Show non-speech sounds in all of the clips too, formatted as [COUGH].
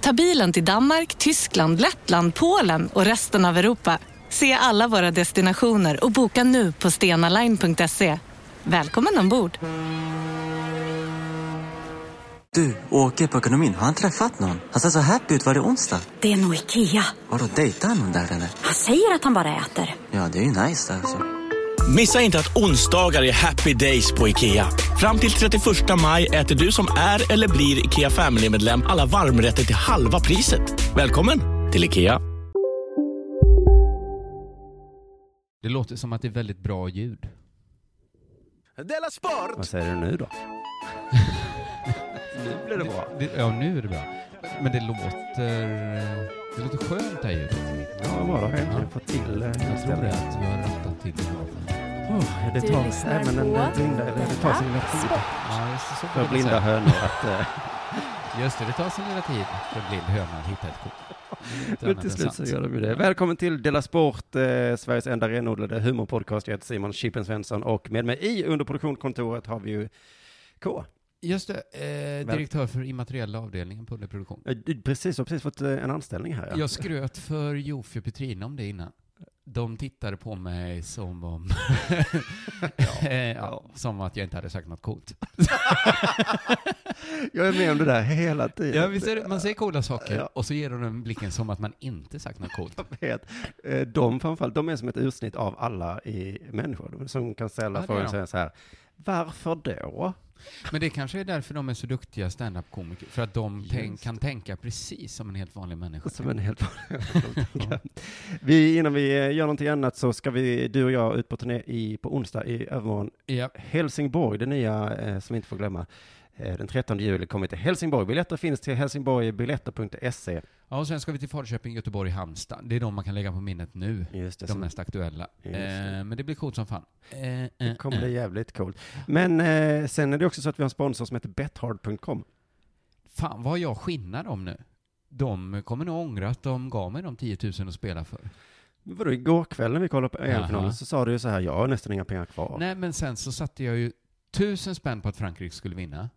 Ta bilen till Danmark, Tyskland, Lettland, Polen och resten av Europa. Se alla våra destinationer och boka nu på stenaline.se. Välkommen ombord! Du, åker på ekonomin. Har han träffat någon? Han ser så happy ut. Var det onsdag? Det är nog Ikea. Har du dejtar någon där eller? Han säger att han bara äter. Ja, det är ju nice där alltså. Missa inte att onsdagar är happy days på IKEA. Fram till 31 maj äter du som är eller blir IKEA Family-medlem alla varmrätter till halva priset. Välkommen till IKEA. Det låter som att det är väldigt bra ljud. Della Sport! Vad säger du nu då? nu blir det bra. Det, ja, nu är det bra. Men det låter... eh, Det låter skönt det här ljudet. Ja, bara äntligen fått till eh, Jag tror det stället. att vi har rattat till det. bra. Oh, det Du tar lyssnar även en eh, på blinda, eller det tar sin lilla tid Ja, just det, så kan för man blinda säga. [LAUGHS] hönor att... eh, Just det, det tar sin lilla tid för en blind höna att hitta ett kort. Inget Men annat till än slut så sant. gör de ju det. Välkommen till Dela Sport, eh, Sveriges enda renodlade humorpodcast. Jag heter Simon Chippen Svensson och med mig i underproduktionskontoret har vi ju K. Just det, eh, Väl- direktör för immateriella avdelningen på underproduktion. Eh, du- Precis, har precis fått eh, en anställning här. Ja. Jag skröt för Jofi och Petrina om det innan. De tittade på mig som om... [LAUGHS] ja, ja. Som att jag inte hade sagt något coolt. Jag är med om det där [LAUGHS] hela tiden. Ja, visst är det, man säger coola saker Ja. och så ger de den blicken som att man inte sagt något coolt. [LAUGHS] vet. Eh, De framförallt, de är som ett ursnitt av alla i människor. De som kan ställa Ja, det är frågan de. så här, så här, varför då? Men det kanske är därför de är så duktiga standup-komiker, för att de tänk, Just kan tänka precis som en helt vanlig människa. Som en helt [LAUGHS] vanlig vi, Innan vi eh, gör någonting annat så ska vi, du och jag, ut på turné i, på onsdag i övermorgon. Ja. Helsingborg, det nya eh, som vi inte får glömma. Eh, den 13 juli kommer vi till Helsingborg. Biljetter finns till helsingborgbiljetter.se. ja, och sen ska vi till Falköping, Göteborg, Halmstad. Det är de man kan lägga på minnet nu, Just det, de som- mest aktuella. det. Eh, men det blir coolt som fan. Eh, eh, kommer eh. bli jävligt coolt. Men eh, sen är det också så att vi har en sponsor som heter bethard.com. Fan vad jag skinnar om nu. De kommer nog ångra att de gav mig de 10 000 att spela för. Men Vadå, igår kväll när vi kollade på Jaha. EM-finalen så sa du ju så här, jag har nästan inga pengar kvar. Nej, men sen så satte jag ju tusen spänn på att Frankrike skulle vinna.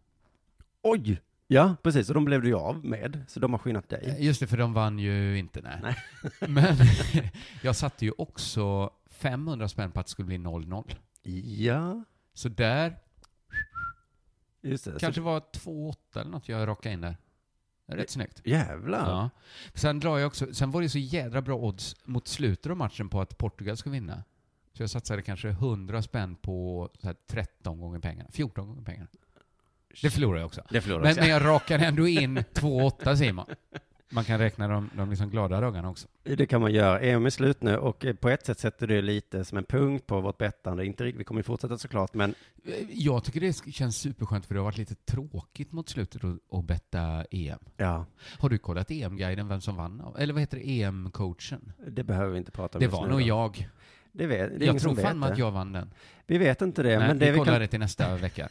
Oj! Ja, precis. Och de blev du ju av med, så de har skinnat dig. Eh, Just det, för de vann ju inte. Nej. [LAUGHS] Men jag satte ju också 500 spänn på att det skulle bli 0-0. Ja, Så där just det. kanske var 2-8 eller något jag rockade in där. Rätt snyggt. Så, jävlar. Ja. Sen, drar jag också, sen var det ju så jädra bra odds mot slutet av matchen på att Portugal skulle vinna. Så jag satsade kanske 100 spänn på så här 13 gånger pengarna, 14 gånger pengarna. Det förlorade jag också. Det förlorade Men, men, men jag rakade ändå in 2-8 Simon. [LAUGHS] Man kan räkna de, de liksom glada dagarna också. Det kan man göra. EM är slut nu och eh, på ett sätt sätter det lite som en punkt på vårt bettande. Inte riktigt, vi kommer ju fortsätta såklart, men Eh, Jag tycker det känns superskönt för det har varit lite tråkigt mot slutet att- att betta EM. ja, Har du kollat EM-guiden, vem som vann? av- Eller vad heter det, EM-coachen? det behöver vi inte prata om Det just var nu nog då. jag. Det vet, det är Jag tror ingen som fan vet att det. jag vann den. Vi vet inte det, Nej, men det vi vi kollar kan det till nästa vecka.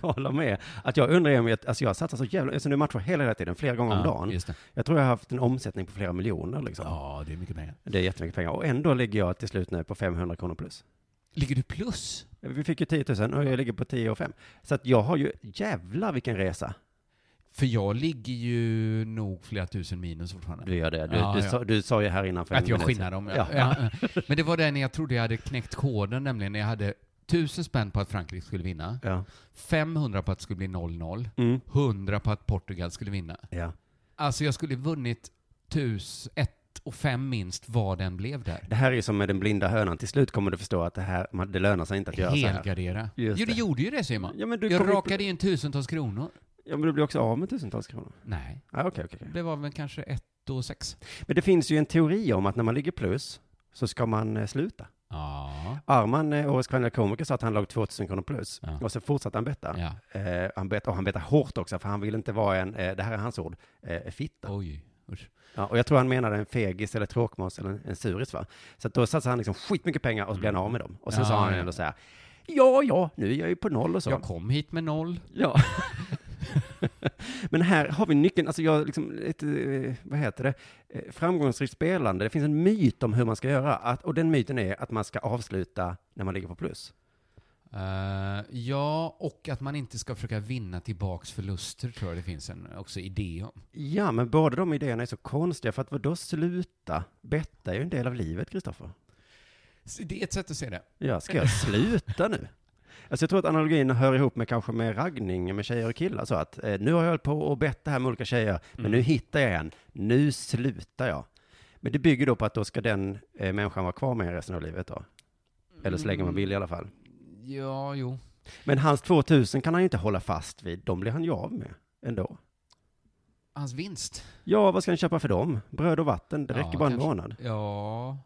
tala om är att jag undrar om jag, alltså jag satsar så jävla, alltså nu matchar hela hela tiden, flera gånger [LAUGHS] om Ja, dagen. just det. Jag tror jag har haft en omsättning på flera miljoner liksom. ja, det är mycket pengar. Det är jättemycket pengar. Och ändå ligger jag till slut nu på 500 kronor plus. Ligger du plus? Vi fick ju 10 000 och jag ligger på 10 och 5. Så att jag har ju, jävlar vilken resa. För jag ligger ju nog flera tusen minus fortfarande. Du gör det. Du, Ja, du, ja. Sa, du sa ju här innan för en Att jag minut skinnar sedan. dem, ja. Ja. Men det var där när jag trodde jag hade knäckt koden, nämligen när jag hade tusen spänn på att Frankrike skulle vinna, Ja. 500 på att det skulle bli 0-0, Mm. 100 på att Portugal skulle vinna. ja. Alltså jag skulle vunnit tus, ett och fem minst vad den blev där. Det här är ju som med den blinda hönan. Till slut kommer du förstå att det här, man- det lönar sig inte att göra så här. Helgardera. Jo, Just du det. gjorde ju det Simon. Ja, men du Jag kommer ju- rakade in tusentals kronor. Ja, men du blir också av med tusentals kronor. Nej, Ja, okej, okej. okej. det var väl kanske ett och sex. Men det finns ju en teori om att när man ligger plus så ska man eh, sluta. Ja. Arman, eh, årets kvinnliga komiker, sa att han låg 2000 kronor plus. Ja. Och så fortsatte han betta. ja. Eh, han bet, och han bettade hårt också, för han ville inte vara en, eh, det här är hans ord, eh, fitta. Oj. Usch. Ja, och jag tror han menade en fegis eller tråkmåns eller en- en suris va? Så att då satsade han liksom skitmycket pengar och så blev han av med dem. Och sen Mm. Ja, sa han ja. ändå så här, ja, ja, nu är jag ju på noll och så. Jag kom hit med noll. Ja. [LAUGHS] Men här har vi nyckeln, alltså jag liksom, lite, eh, vad heter det, Eh, framgångsrikt spelande, det finns en myt om hur man ska göra, att, och den myten är att man ska avsluta när man ligger på plus. Eh, ja, och att man inte ska försöka vinna tillbaks förluster tror jag det finns en också idé om. Ja, men båda de idéerna är så konstiga, för att vadå sluta? Betta är ju en del av livet, Kristoffer. Så Det är ett sätt att se det. Ja, ska jag sluta nu? Alltså jag tror att analogin hör ihop med kanske med raggning med tjejer och killar så att eh, nu har jag hållit på och bett det här med olika tjejer, men Mm. nu hittar jag en, nu slutar jag. Men det bygger då på att då ska den eh, människan vara kvar med en resten av livet då. Eller så länge man vill i alla fall. Ja, jo. Men hans 2000 kan han ju inte hålla fast vid, de blir han ju av med ändå. Hans vinst. Ja, vad ska han köpa för dem? Bröd och vatten, det Ja, räcker bara en kanske. månad. Ja,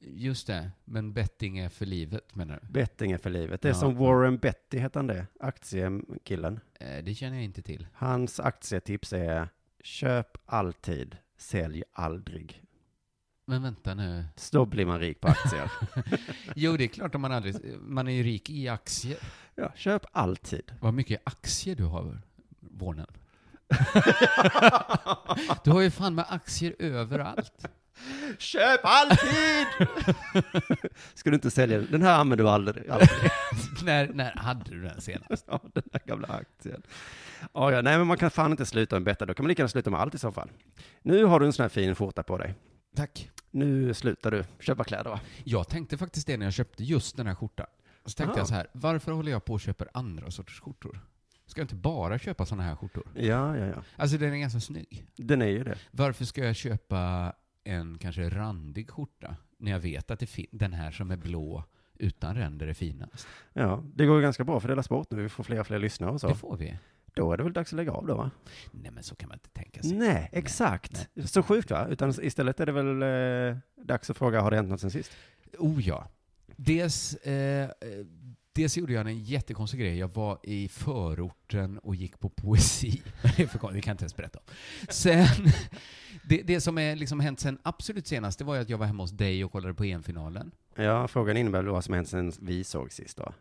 just det. Men betting är för livet menar du? Betting är för livet. Det är Ja. som Warren Betty, heter han det? Aktiekillen. Eh, Det känner jag inte till. Hans aktietips är köp alltid, sälj aldrig. Men vänta [LAUGHS] nu. Så Då blir man rik på aktier. [LAUGHS] Jo, det är klart om man aldrig... Man är ju rik i aktier. ja, köp alltid. Vad mycket aktier du har, Vårnen. [LAUGHS] Du har ju fan med aktier överallt. köp alltid! [LAUGHS] Ska du inte sälja den? Den här använder du aldrig. aldrig. [LAUGHS] när, när hade du den senast? ja, den här gamla aktien. Ja, ja, nej, men man kan fan inte sluta med betta. Då kan man lika gärna sluta med allt i så fall. Nu har du en sån här fin skjorta på dig. Tack. Nu slutar du köpa kläder, va? Jag tänkte faktiskt det när jag köpte just den här skjortan. Så tänkte Ah. jag så här, varför håller jag på och köper andra sorters skjortor? Ska jag inte bara köpa såna här skjortor? Ja, ja, ja. Alltså den är ganska snygg. Den är ju det. Varför ska jag köpa en kanske randig skjorta när jag vet att det fin- den här som är blå utan ränder är finast? Ja, det går ju ganska bra för Dela Sport nu. Vi får fler och fler lyssnare och Det så. får vi. Då är det väl dags att lägga av då, va? Nej men så kan man inte tänka sig. Nej, exakt. Så sjukt va? Utan istället är det väl eh, dags att fråga, har det hänt något sen sist? Oh ja. Dels, eh, eh, dels gjorde jag en jättekonstig grej. Jag var i förorten och gick på poesi. [LAUGHS] Det är för konstigt, det kan jag inte ens berätta om. Sen, [LAUGHS] det, det som är liksom hänt sen absolut senast, det var ju att jag var hemma hos dig och kollade på EM-finalen. Ja, frågan innebär väl vad som hänt sen vi såg sist då?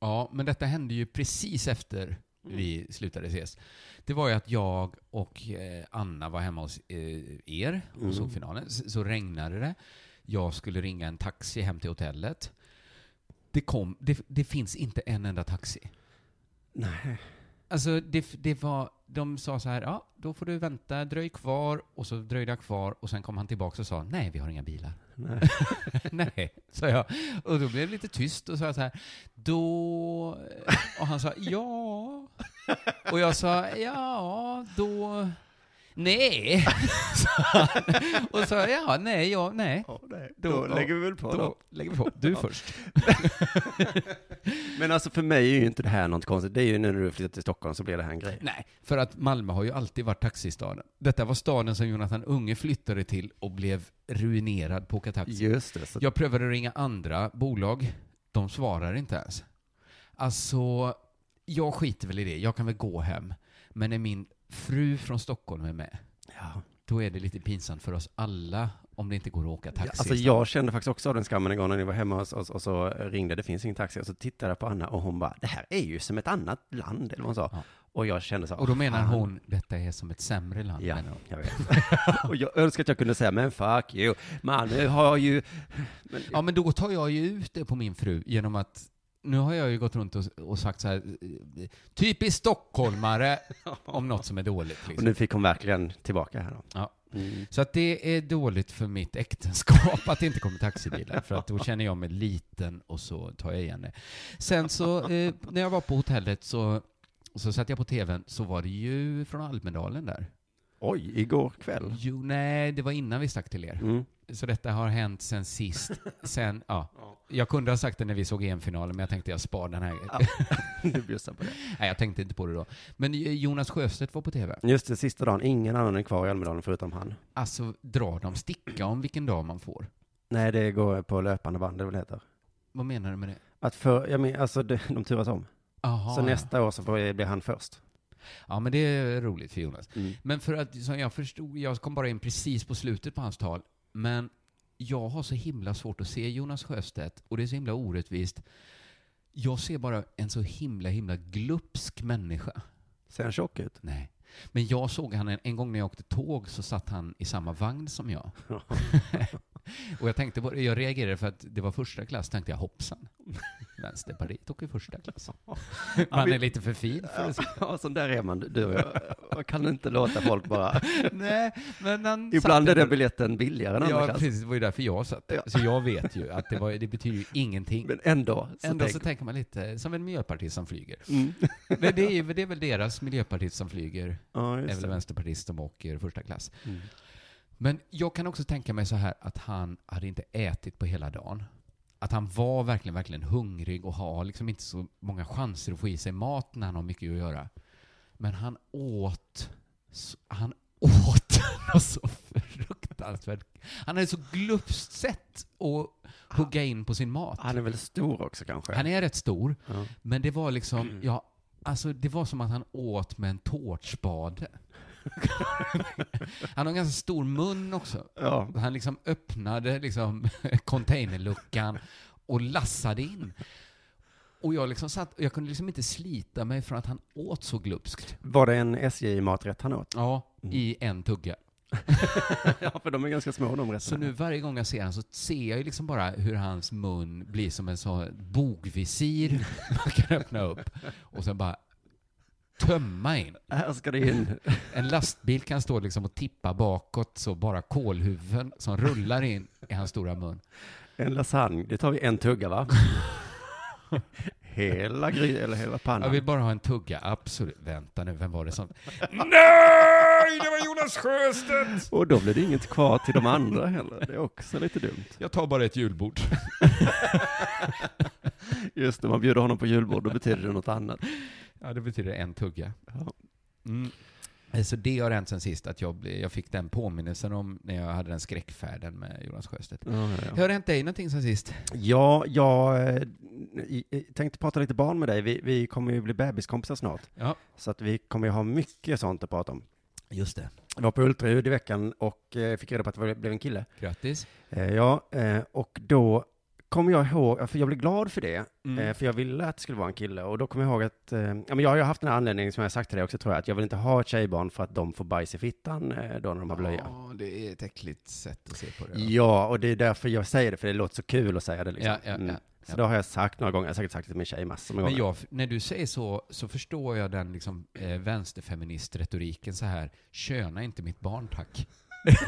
Ja, men detta hände ju precis efter vi slutade ses. Det var ju att jag och eh, Anna var hemma hos eh, er och såg finalen. S- Så regnade det. Jag skulle ringa en taxi hem till hotellet. Det, kom, det, det finns inte en enda taxi. Nej. Alltså, det, f- det var... De sa så här, ja, då får du vänta, dröj kvar. Och så dröjde jag kvar och sen kom han tillbaka och sa, nej, vi har inga bilar. Nej. [LAUGHS] Nej, sa jag. Och då blev det lite tyst och sa jag så här, då... Och han sa ja. Och jag sa ja, då... Nej. [LAUGHS] sa han. och sa ja, nej, ja, nej. då, Då- lägger vi väl på Då då. lägger vi på. Du först. Men alltså för mig är ju inte det här något konstigt. Det är ju nu när du flyttat till Stockholm så blir det här en grej. Nej, för att Malmö har ju alltid varit taxistaden. Detta var staden som Jonathan Unge flyttade till och blev ruinerad på att åka taxi. Just det. Så Jag prövade att ringa andra bolag. De svarar inte ens. Alltså, jag skiter väl i det. Jag kan väl gå hem. Men när min fru från Stockholm är med, ja. då är det lite pinsamt för oss alla om det inte går att åka taxi. Alltså jag kände faktiskt också av den skammen en gång när ni var hemma hos oss och så ringde, det finns ingen taxi, och så tittade jag på Anna och hon bara, det här är ju som ett annat land, eller vad hon sa. Ja. Och jag kände så, Och då menar "Fan." hon, detta är som ett sämre land. Ja, menar hon. jag vet. [LAUGHS] och jag önskar att jag kunde säga, men fuck you, Malmö har ju... Men, ja, men då tar jag ju ut det på min fru genom att nu har jag ju gått runt och, och sagt så här, eh, typiskt stockholmare [LAUGHS] om något som är dåligt. och Liksom. nu fick hon verkligen tillbaka här då. Ja. Mm. Så att det är dåligt för mitt äktenskap att det inte kommer taxibilar, för att då känner jag mig liten och så tar jag igen det. Sen så, eh, när jag var på hotellet så, så satt jag på tvn, så var det ju från Almedalen där. Oj, igår [LAUGHS] kväll. Jo, nej, det var innan vi stack till er. Mm. Så detta har hänt sen [LAUGHS] sist, sen, ja. Jag kunde ha sagt det när vi såg EM-finalen, men jag tänkte jag spar den här. Du bjussar på det. [LAUGHS] nej, jag tänkte inte på det då. Men eh, Jonas Sjöstedt var på tv. Just det, sista dagen, ingen annan är kvar i Almedalen förutom han. Alltså, drar de sticka om vilken dag man får? Nej, det går på löpande band, det väl heter. Vad menar du med det? Att för, jag men, alltså det, de turas om. Aha, så ja. nästa år så får jag- blir han först. Ja, men det är roligt för Jonas. Mm. Men för att, som jag förstod, jag kom bara in precis på slutet på hans tal, men jag har så himla svårt att se Jonas Sjöstedt och det är så himla orättvist. Jag ser bara en så himla, himla glupsk människa. Ser han tjock ut? Nej. Men jag såg han en, en gång när jag åkte tåg så satt han i samma vagn som [LAUGHS] jag. och jag tänkte på det, jag reagerade för att det var första klass, tänkte jag hoppsan. Vänsterpartiet åker första [LAUGHS] klass. Man är lite för fin för att [LAUGHS] Ja, sån där är man, du och jag. Jag kan inte låta folk [LAUGHS] bara... Nej, men han Ibland är satt- den biljetten billigare än andra Ja, klass. precis. Det var ju därför jag satt där. Så jag vet ju att det, var, det betyder ju ingenting. Men ändå. Så Mm. Ändå tänk, så tänker man lite som en miljöpartist som flyger. Men det är, ju- det är väl deras miljöpartist som flyger, ja, är just väl det. Mm. vänsterpartist som åker första klass. Men jag kan också tänka mig så här att han hade inte ätit på hela dagen. Att han var verkligen, verkligen hungrig och har liksom inte så många chanser att få i sig mat när han har mycket att göra. Men han åt, så- han [LAUGHS] åt något så fruktansvärt. Han hade så glupskt sätt att hugga in på sin mat. Han är väl stor också kanske? Han är rätt stor, Ja. men det var liksom, ja, alltså det var som att han åt med en tårtspade. han har en ganska stor mun också. Ja. Han liksom öppnade liksom [LAUGHS] containerluckan och lassade in. Och jag liksom satt, jag kunde liksom inte slita mig från att han åt så glupskt. Var det en SJ-maträtt han åt? Ja, i en tugga. [LAUGHS] Ja, för de är ganska små de rätterna. Så nu varje gång jag ser honom så ser jag ju liksom bara hur hans mun blir som en sån bogvisir [LAUGHS] man kan öppna upp och sen bara tömma in. Här ska det [LAUGHS] in. En lastbil kan stå liksom och tippa bakåt så bara kolhuvuden som rullar in i hans stora mun. En lasagne, det tar vi en tugga [LAUGHS] va? hela gry, eller hela Jag pannan. vill bara ha en tugga, absolut. Vänta nu, vem var det som... Nej, det var Jonas Sjöstedt! Och då blir det inget kvar till de andra heller. Det är också lite dumt. Jag tar bara ett julbord. Just när man bjuder honom på julbord, då betyder det något annat. Ja, det betyder en tugga. Ja. Mm. Så det har hänt sen sist, att jag, blev- jag fick den påminnelsen om när jag hade den skräckfärden med Jonas Sjöstedt. Ja, Har det hänt dig någonting sen sist? ja, jag eh, i- i- tänkte prata lite barn med dig. Vi, vi kommer ju bli bebiskompisar snart. Ja. Så att vi kommer ju ha mycket sånt att prata om. Just det. Jag var på ultraljud i veckan och eh, fick reda på att det var- blev en kille. Grattis. Eh, Ja, eh, och då kommer jag ihåg, för jag blev glad för det, Mm. eh, för jag ville att det skulle vara en kille. Och då kommer jag ihåg att, eh, ja men jag har ju haft den här anledningen som jag har sagt till dig också tror jag, att jag vill inte ha ett tjejbarn för att de får bajs i fittan eh, då när de har blöja. Ja, det är ett äckligt sätt att se på det. Ja, och det är därför jag säger det, för det låter så kul att säga det liksom. Ja, ja, ja, Så ja. då har jag sagt några gånger, jag har säkert sagt det till min tjej massor med Men gånger. jag, när du säger så, så förstår jag den liksom, eh, vänsterfeministretoriken så här, köna inte mitt barn tack.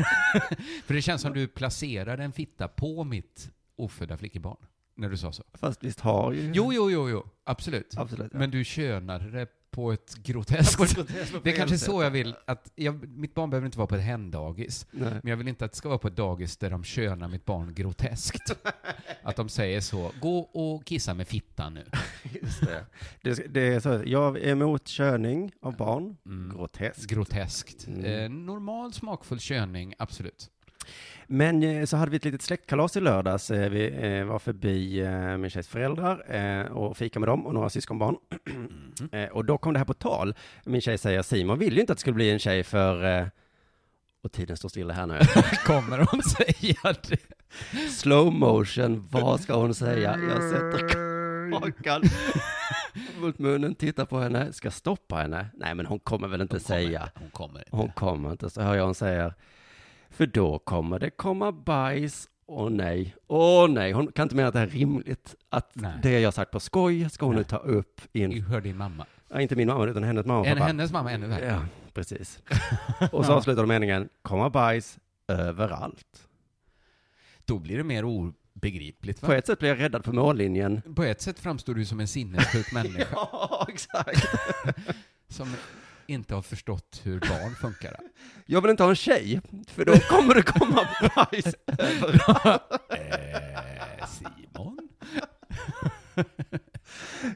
[LAUGHS] För det känns som du placerade en fitta på mitt ofödda flickebarn, när du sa så. Fast visst har ju... Jo, jo, jo, jo. absolut. Mm. Absolut. Ja. Men du könade det på ett groteskt... det är kanske så jag vill att... Jag, mitt barn behöver inte vara på ett hen-dagis. Nej. Men jag vill inte att det ska vara på ett dagis där de könar mitt barn groteskt. att de säger så. Gå och kissa med fittan nu. Just det. Det, ska- det är så, jag är emot körning av barn. Mm. Groteskt. Groteskt. Eh, normal smakfull köning, absolut. Men eh, så hade vi ett litet släktkalas i lördags. Eh, Vi eh, var förbi eh, min tjejs föräldrar eh, och fika med dem och några syskonbarn. [CLEARS THROAT] Eh, Och då kom det här på tal. Min tjej säger, Simon ville ju inte att det skulle bli en tjej för... eh," Och tiden står stilla [LAUGHS] här nu. Kommer de [LAUGHS] säga det? Slow motion, vad ska hon säga? Jag sätter [LAUGHS] kakan mot munnen, tittar på henne, ska stoppa henne. Nej, men hon kommer väl inte säga. Hon kommer. Hon kommer inte, så hör jag hon säger. För då kommer det komma bajs. Åh nej, åh nej. Hon kan inte mena att det här är rimligt. Att Nej. det jag sagt på skoj ska hon nu ta upp in, Hör din mamma. ja, inte min mamma utan hennes mamma och En, pappa. hennes mamma ännu värre. Ja, [LAUGHS] precis. Och så avslutar de meningen, komma bajs överallt. Då blir det mer obegripligt. Va? På ett sätt blir jag räddad på mållinjen. [LAUGHS] På ett sätt framstår du som en sinnessjuk [LAUGHS] människa Ja, exakt. som inte har förstått hur barn funkar. [LAUGHS] Jag vill inte ha en tjej, för då kommer [LAUGHS] det komma bajs överallt. Eh, Simon?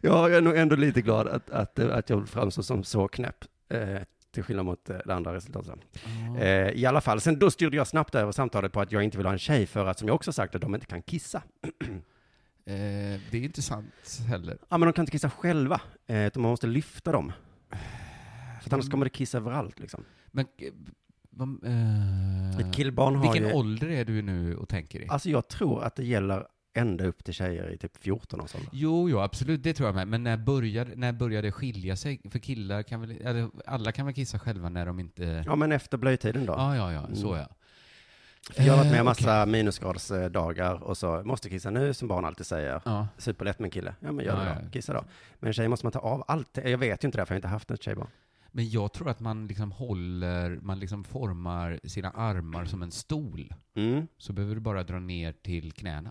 Jag är nog ändå lite glad att, att, att jag framstår som så knäpp, eh, till skillnad mot eh, det andra resultatet. Ah. Eh, I alla fall, sen då styrde jag snabbt över samtalet på att jag inte vill ha en tjej för att, som jag också sagt, att de inte kan kissa. Eh, det är inte sant heller. Ja, men de kan inte kissa själva, eh, utan man måste lyfta dem. För att annars kommer det kiss överallt liksom. Men, eh, vad- eh, Ett killbarn har vilken ju... ålder är du nu och tänker i? Alltså jag tror att det gäller ända upp till tjejer i typ 14 års ålder. Jo, jo, absolut, det tror jag med. Men när började, när började det skilja sig? För killar kan väl, eller alla kan väl kissa själva när de inte... Ja, men efter blöjtiden då. Ja, ja, ja, så Mm. ja. För jag har Ah, varit Eh, med en massa minusgradsdagar och så, måste kissa nu, som barn alltid säger. Ja. Superlätt med en kille. Ja, men gör Ja, det ja. då. Kissa då. Men tjejer måste man ta av allt. Jag vet ju inte det, här, för jag har inte haft något tjejbarn. Men jag tror att man liksom håller, man liksom formar sina armar som en stol. Mm. Så behöver du bara dra ner till knäna.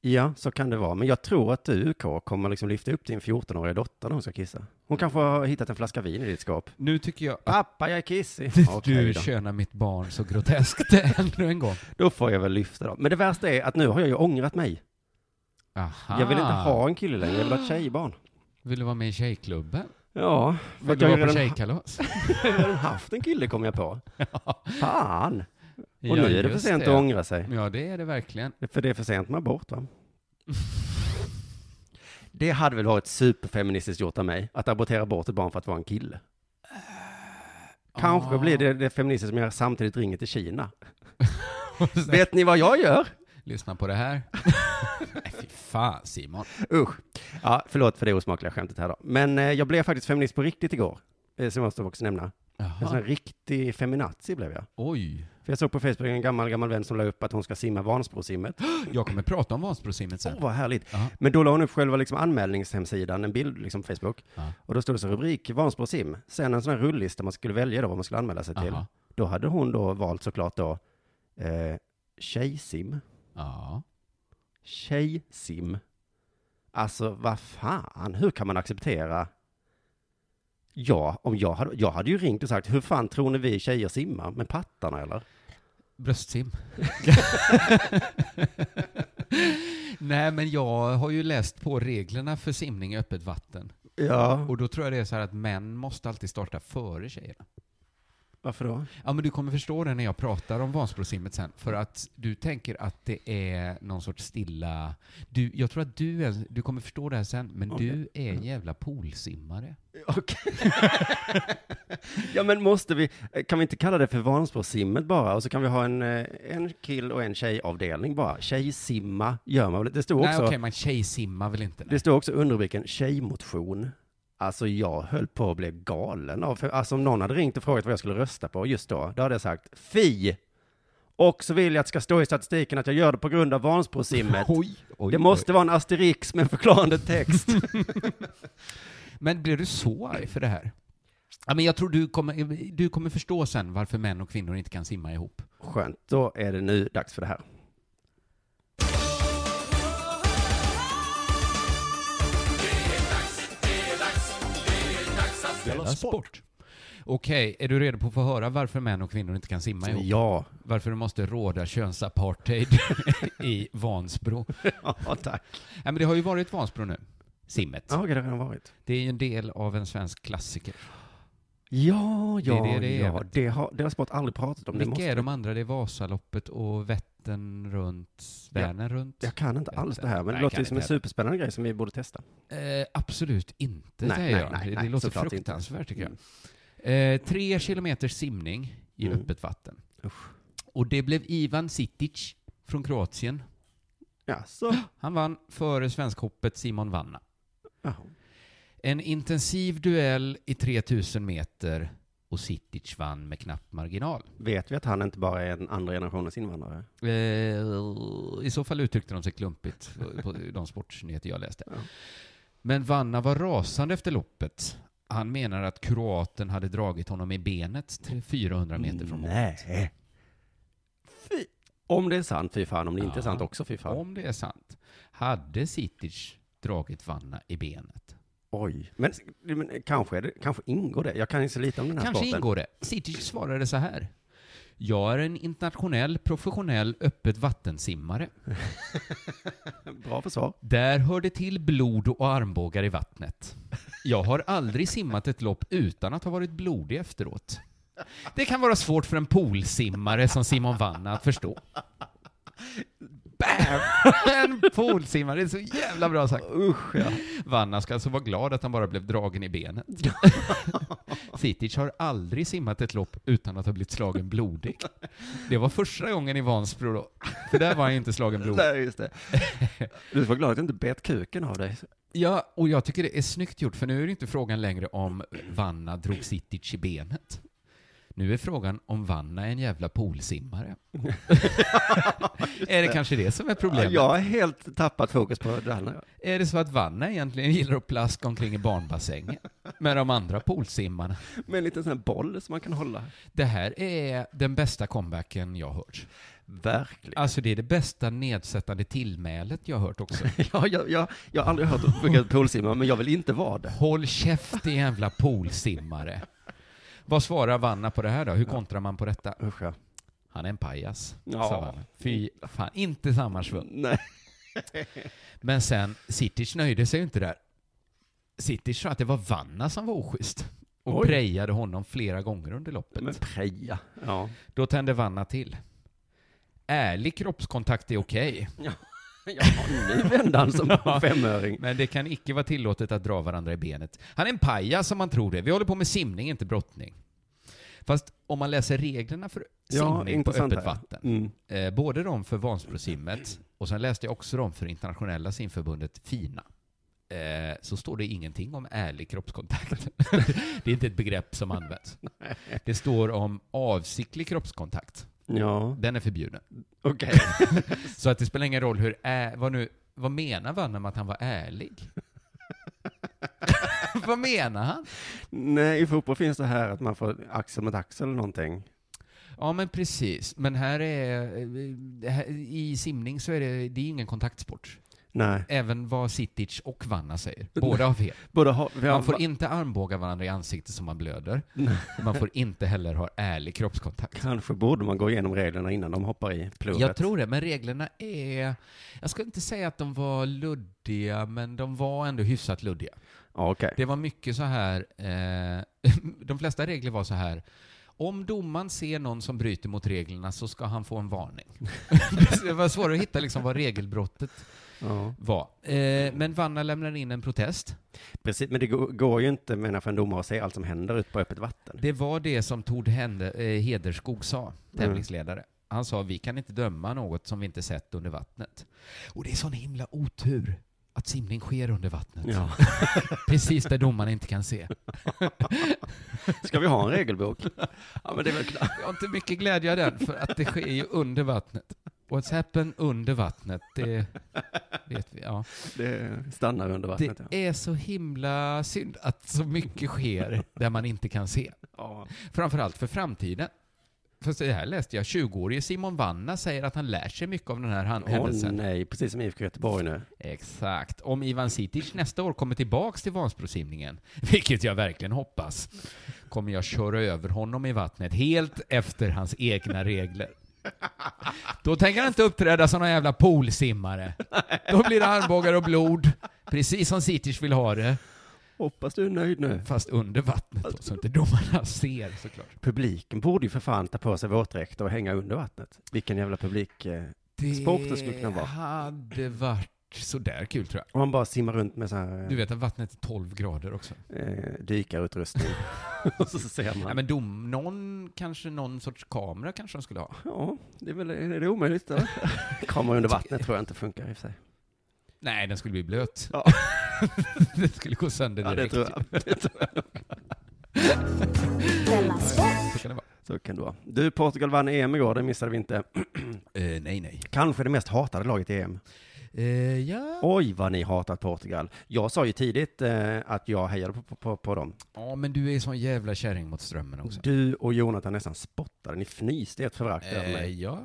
Ja, så kan det vara. Men jag tror att du, K, kommer liksom lyfta upp din 14-åriga dotter när hon ska kissa. Hon kanske har hittat en flaska vin i ditt skåp. Nu tycker jag att Mm. [LAUGHS] Pappa, jag är kissig. du [LAUGHS] Okej då. könar mitt barn så groteskt [LAUGHS] ännu en gång. då får jag väl lyfta då. Men det värsta är att nu har jag ju ångrat mig. Aha. Jag vill inte ha en kille längre, jag vill ha ett tjejbarn. Vill du vara med i tjejklubben? Ja, för Vill att du jag har vara på redan, tjejkalas? [LAUGHS] jag har redan haft en kille kom jag [LAUGHS] på. Fan! Och nu är det för just sent att ångra sig. Ja, det är det verkligen. För det är för sent med abort va? Det hade väl varit superfeministiskt gjort av mig, att abortera bort ett barn för att vara en kille. Kanske blir det det feministiska som jag samtidigt ringer till [LAUGHS] Kina. Vet ni vad jag gör? Lyssna på det [LAUGHS] här. Nej, fy fan Simon. Usch. Ja, förlåt för det osmakliga skämtet här då. Men eh, jag blev faktiskt feminist på riktigt igår, eh, som jag måste också nämna. En sån här Jaha. riktig feminazi blev jag. Oj. För jag såg på Facebook en gammal, gammal vän som la upp att hon ska simma Vansbrosimmet. Jag kommer prata om Vansbrosimmet Åh, sen. vad härligt. Jaha. Men då la hon upp själva liksom anmälningshemsidan, en bild liksom på Facebook. Ja. Och då stod det så rubrik, Vansbrosim. Sen en sån här rullista man skulle välja då vad man skulle anmäla sig till. Jaha. Då hade hon då valt såklart då eh, tjejsim. Ja. Tjejsim. Alltså vad fan, hur kan man acceptera? Ja, om jag hade, jag hade ju ringt och sagt, hur fan tror ni vi tjejer simmar? Med pattarna eller? Bröstsim. [LAUGHS] Nej, men jag har ju läst på reglerna för simning i öppet vatten. Ja, Och då tror jag det är så här att män måste alltid starta före tjejerna. varför då? Ja, men du kommer förstå det när jag pratar om Vansbrosimmet sen, för att du tänker att det är någon sorts stilla... Du, jag tror att du, är, du kommer förstå det här sen, men du är Mm. en jävla poolsimmare. Okej. ja men måste vi, eh, kan vi inte kalla det för Vansbrosimmet bara? Och så kan vi ha en, eh, en kill och en tjejavdelning bara. Tjejsimma gör man väl? Det står Nej, också, okej, man tjejsimmar väl inte? det Nej. står också underrubriken tjejmotion. Alltså jag höll på att bli galen av, för, alltså om någon hade ringt och frågat vad jag skulle rösta på just då, då hade jag sagt FI! Och så vill jag att det ska stå i statistiken att jag gör det på grund av Vansbrosimmet. Oj, oj, det måste vara en asterix med förklarande text. [LAUGHS] oj. Men blev du så arg för det här? Ja, men jag tror du kommer, du kommer förstå sen varför män och kvinnor inte kan simma ihop. Skönt, då är det nu dags för det här. Della Sport. Okej, är du redo på att få höra varför män och kvinnor inte kan simma ihop? Ja, Varför det måste råda könsapartheid [LAUGHS] i Vansbro? [LAUGHS] ja tack. Nej, men det har ju varit Vansbro nu. Simmet. Ja, det har redan varit. Det är ju en del av en svensk klassiker. Ja, ja, det det är. ja. Det har, det har Sport aldrig pratat om. Det Vilka måste, är de andra? Det är Vasaloppet och Vättern runt, Ja. Vänern runt? Jag kan inte Jag vet alls inte. det här, men Nej, det jag låter kan ju som en inte heller. superspännande grej som vi borde testa. Eh, absolut inte, Nej, säger nej, jag. nej, det, det nej, låter såklart inte. fruktansvärt, tycker jag. Eh, tre kilometers simning i Mm. öppet vatten. Usch. Och det blev Ivan Sitic från Kroatien. Ja, så. Han vann före svenskhoppet Simon Vanna. Ja. En intensiv duell i 3000 meter och Sitic vann med knapp marginal. Vet vi att han inte bara är en andra generationens invandrare? Eh, I så fall uttryckte de sig klumpigt [LAUGHS] på de sportsnyheter jag läste. Ja. Men Vanna var rasande efter loppet. Han menar att kroaten hade dragit honom i benet tre- 400 meter från mål. Nej. Fy. Om det är sant, fy fan. Om det inte Ja. är sant också, fy fan. Om det är sant, hade Sitic dragit Vanna i benet? Oj. Men, men kanske, är det, kanske ingår det. Jag kan ju så lite om den här Kanske sporten. ingår det. Sitic svarade så här. Jag är en internationell, professionell, öppet vattensimmare. Bra försvar. Där hör det till blod och armbågar i vattnet. Jag har aldrig simmat ett lopp utan att ha varit blodig efteråt. Det kan vara svårt för en poolsimmare som Simon Vanna att förstå. en poolsimmare, det är så jävla bra sagt. Usch, ja. Vanna ska alltså vara glad att han bara blev dragen i benet. Sitic har aldrig simmat ett lopp utan att ha blivit slagen blodig. Det var första gången i Vansbro då, för där var han inte slagen blodig. Nej, just [LAUGHS] det. Du får glad att du inte bet kuken av dig. Ja, och jag tycker det är snyggt gjort, för nu är det inte frågan längre om Vanna drog Sitic i benet. Nu är frågan om Vanna är en jävla poolsimmare. [LAUGHS] är det kanske det som är problemet? Jag har helt tappat fokus på det här. Är det så att Vanna egentligen gillar att plaska omkring i barnbassängen med de andra poolsimmarna? Med en liten sån här boll som man kan hålla. Det här är den bästa comebacken jag har hört. Verkligen. Alltså det är det bästa nedsättande tillmälet jag har hört också. [LAUGHS] Ja, jag, jag, jag har aldrig hört att funka poolsimma, men jag vill inte vara det. Håll käft din jävla poolsimmare. Vad svarar Vanna på det här då? Hur kontrar man på detta? Usch ja. Han är en pajas, Ja. sa han. Fy fan, inte sammansvung. Nej. Men sen, Sitic nöjde sig ju inte där. Sitic sa att det var Vanna som var oschysst och Oj. prejade honom flera gånger under loppet. Men preja. Ja. Då tände Vanna till. Ärlig kroppskontakt är okej, Ja, nu vände han [LAUGHS] som en femöring. men det kan icke vara tillåtet att dra varandra i benet. Han är en pajas som man tror det. Vi håller på med simning, inte brottning. Fast om man läser reglerna för simning på öppet här. vatten, Mm. eh, både de för Vansbrosimmet och sen läste jag också de för Internationella simförbundet FINA, eh, så står det ingenting om ärlig kroppskontakt. [LAUGHS] det är inte ett begrepp som används. Det står om avsiktlig kroppskontakt. Ja, Den är förbjuden. [LAUGHS] okej. Så att det spelar ingen roll hur ä, vad, nu, vad menar Vanna med att han var ärlig? [LAUGHS] vad menar han? Nej, i fotboll finns det här att man får axel mot axel eller någonting. Ja men precis, men här är, eh, det här- i simning så är det, det är ingen kontaktsport. Nej. Även vad Sitic och Vanna säger, båda har fel. Både ha, vi har, Man får inte armbåga varandra i ansiktet så man blöder. Man får inte heller ha ärlig kroppskontakt. Kanske borde man gå igenom reglerna innan de hoppar i plugget. Jag tror det, men reglerna är... Jag ska inte säga att de var luddiga, men de var ändå hyfsat luddiga. Ja, okej. Det var mycket så här, eh, [LAUGHS] de flesta regler var så här, om domaren ser någon som bryter mot reglerna så ska han få en varning. [LAUGHS] det var svårt att hitta liksom vad regelbrottet Ja. var. Eh, men Vanna lämnar in en protest. Precis, men det går, går ju inte menar för en domare att se allt som händer ute på öppet vatten. Det var det som Tord Hende, eh, Hederskog sa, tävlingsledare. Han sa vi kan inte döma något som vi inte sett under vattnet. Och det är sån himla otur att simning sker under vattnet. Ja. [LAUGHS] [LAUGHS] Precis där domaren inte kan se. Ska vi ha en regelbok? ja, men det är väl klart. Jag har inte mycket glädje av den, för att det sker ju under vattnet. What's happened under vattnet, det vet vi. Ja. Det stannar under Det vattnet. är så himla synd att så mycket sker där man inte kan se. Ja. Framförallt för framtiden. Fast det här läste jag, 20-årige Simon Vanna säger att han lär sig mycket av den här han- Åh händelsen. nej, precis som IFK Göteborg nu. Exakt. Om Ivan Sitic nästa år kommer tillbaks till Vansbrosimningen, [LAUGHS] vilket jag verkligen hoppas, kommer jag köra över honom i vattnet helt efter hans egna regler. Då tänker han inte uppträda som någon jävla poolsimmare. Då blir det armbågar och blod, precis som Sitic vill ha det, Hoppas du är nöjd nu. fast under vattnet då, så inte domarna ser såklart. Publiken borde ju för fan ta på sig våtdräkter och hänga under vattnet. Vilken jävla publik. eh. Sporten skulle kunna vara. hade varit sådär kul tror jag. Och han bara simmar runt med så här Du vet att vattnet är 12 grader också. eh, [LAUGHS] dykarutrustning. och så ser man. Ja, men dom, någon, kanske någon sorts kamera kanske de skulle ha. Ja, det är väl är det omöjligt. Då? [LAUGHS] Kameror under vattnet tror jag inte funkar i och för sig. Nej, den skulle bli blöt. Ja. [LAUGHS] den skulle gå sönder Ja, det direkt. tror jag. Det tror jag. Så kan det vara. [LAUGHS] Så kan det vara. Du, Portugal vann EM igår, det missade vi inte. Eh, nej, nej. Kanske det mest hatade laget i EM. Eh, ja. Oj, vad ni hatat Portugal. Jag sa ju tidigt eh, att jag hejade på, på, på dem. ja, men du är sån jävla kärring mot strömmen också. Du och Jonathan nästan spottade, ni fnyste ert förakt över Eh, mig. ja.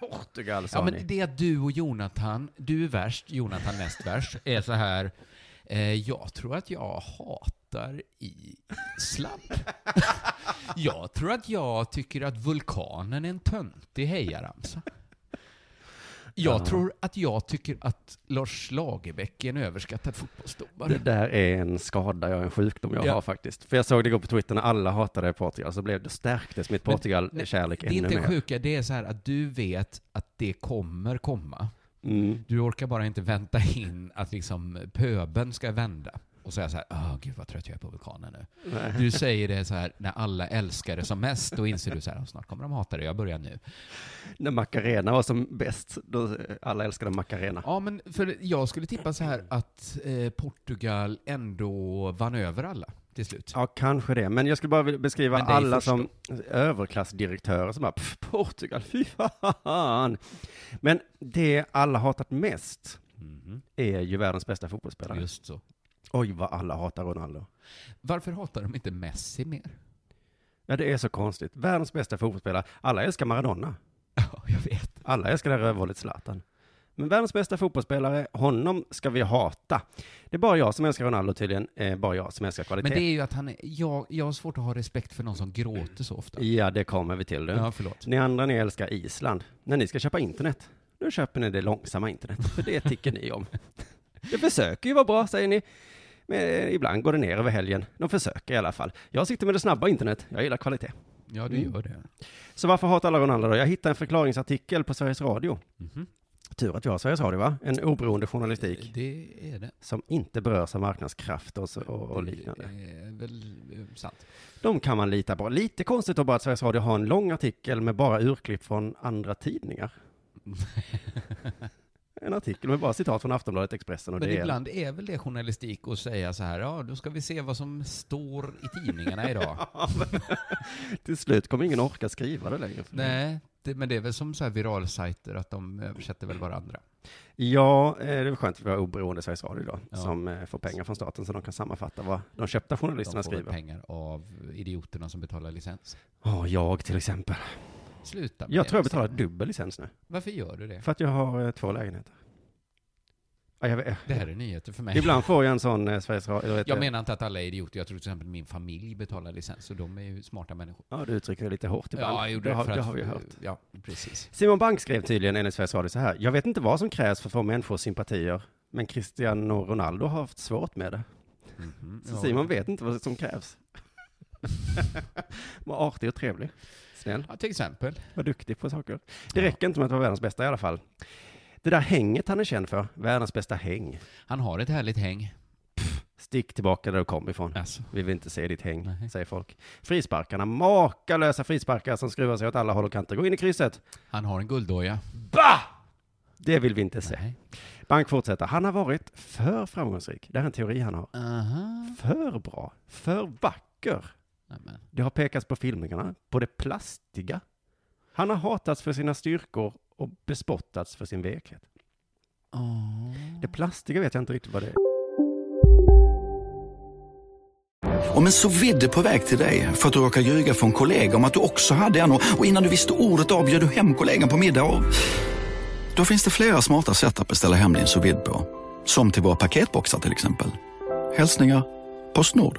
Portugal sa ja, ni. men det att du och Jonathan, du är värst, Jonathan näst värst, är så här. Eh, jag tror att jag hatar Island. [LAUGHS] jag tror att jag tycker att vulkanen är en töntig hejaramsa. Jag Ja. tror att jag tycker att Lars Lagerbäck är en överskattad Det fotbollsdomare. där är en skada, jag en sjukdom jag Ja. har faktiskt. För jag såg det igår på Twitter när alla hatade Portugal, så blev det, stärktes mitt Men- Portugal-kärlek Det är ännu inte mer. sjuka, det är så här att du vet att det kommer komma. Mm. Du orkar bara inte vänta in att liksom pöben ska vända och säga så här, åh gud vad trött jag är på vulkanen nu. Du säger det så här när alla älskar det som mest, då inser du så här, "Åh, snart kommer de hata det, jag börjar nu. När Macarena var som bäst, då alla älskade Macarena. Ja, men för jag skulle tippa så här att eh, Portugal ändå vann över alla till slut. Ja, kanske det. Men jag skulle bara vilja beskriva Men det är alla först som överklassdirektörer som bara, "Pff, Portugal, [LAUGHS] fy fan. Men det alla hatat mest är ju världens bästa fotbollsspelare. Mhm. Just så. Oj, vad alla hatar Ronaldo. Varför hatar de inte Messi mer? Ja, det är så konstigt. Världens bästa fotbollsspelare. Alla älskar Maradona. Ja, jag vet. Alla älskar det här rövhålet Zlatan. Men världens bästa fotbollsspelare, honom ska vi hata. Det är bara jag som älskar Ronaldo tydligen, eh, bara jag som älskar kvalitet. Men det är ju att han är, jag, jag har svårt att ha respekt för någon som gråter så ofta. Ja, det kommer vi till. Du. Ja, förlåt. Ni andra, ni älskar Island. När ni ska köpa internet, då köper ni det långsamma internet, för det tycker [LAUGHS] ni om. Det försöker ju vara bra, säger ni. Men eh, ibland går det ner över helgen. De försöker i alla fall. Jag sitter med det snabba internet. Jag gillar kvalitet. Ja, du Mm. gör det. Så varför hatar alla Ronaldo då? Jag hittade en förklaringsartikel på Sveriges Radio. Tur att vi har Sveriges Radio, va? En oberoende journalistik Mhm. Det är det. som inte berörs av marknadskrafter och, så- och, och liknande. Det är väl eh, sant. De kan man lita på. Lite konstigt då bara att Sveriges Radio har en lång artikel med bara urklipp från [LAUGHS] andra tidningar. en artikel med bara citat från Aftonbladet, Expressen och Men DN. [LAUGHS] ibland är väl det journalistik att säga så här, ja, då ska vi se vad som står i tidningarna [LAUGHS] Mm. idag. Till slut kommer ingen orka skriva det längre. Nej, det, men det är väl som så här viralsajter, att de översätter väl varandra. Ja, eh, det är väl skönt att vi har oberoende Sveriges Radio då, Ja. som eh, får pengar från staten så de kan sammanfatta vad de köpta journalisterna De får väl skriver. pengar av idioterna som betalar licens. Ja, jag till exempel. Sluta med Jag det. tror jag betalar dubbel licens nu, Varför gör du det? för att jag har eh, två lägenheter. Ja, jag vet. Det här är nyheter för mig. Ibland får jag en sån eh, Sveriges Radio... eller ett, eh, Jag menar inte att alla är idioter. Jag tror till exempel min familj betalar licens och de är ju smarta människor. Ja, du uttryckte det lite hårt ibland. Ja, jag gjorde Typ det, har, för det att- har vi hört. Ja, precis. Simon Bank skrev tydligen enligt Sveriges Radio så här. Jag vet inte vad som krävs för att få människors sympatier, men Cristiano Ronaldo har haft svårt med det. Så Ja. Simon vet inte vad som krävs. [LAUGHS] Var artig och trevlig. Snäll. Ja, till exempel. Var duktig på saker. Det räcker inte med att vara världens bästa i alla fall. Det där hänget han är känd för, världens bästa häng. Han har ett härligt häng. Stick tillbaka där du kom ifrån. Alltså. Vi vill inte se ditt häng, Nej. säger folk. Frisparkarna, makalösa frisparkar som skruvar sig åt alla håll och kanter. Gå in i krysset. Han har en gulddoja. Det vill vi inte se. Bank fortsätter. Han har varit för framgångsrik. Det här är en teori han har. Aha. För bra. För vacker. Nämen. Det har pekats på filmningarna, på det plastiga. Han har hatats för sina styrkor och bespottats för sin vekhet. Det plastiga vet jag inte riktigt vad det är. Om en så vidde på väg till dig för att du råkar ljuga från kollega om att du också hade en och och innan du visste ordet av bjöd du hem kollegan på middag och... Då finns det flera smarta sätt att beställa hem din sous vide på. Som till våra paketboxar till exempel. Hälsningar Postnord.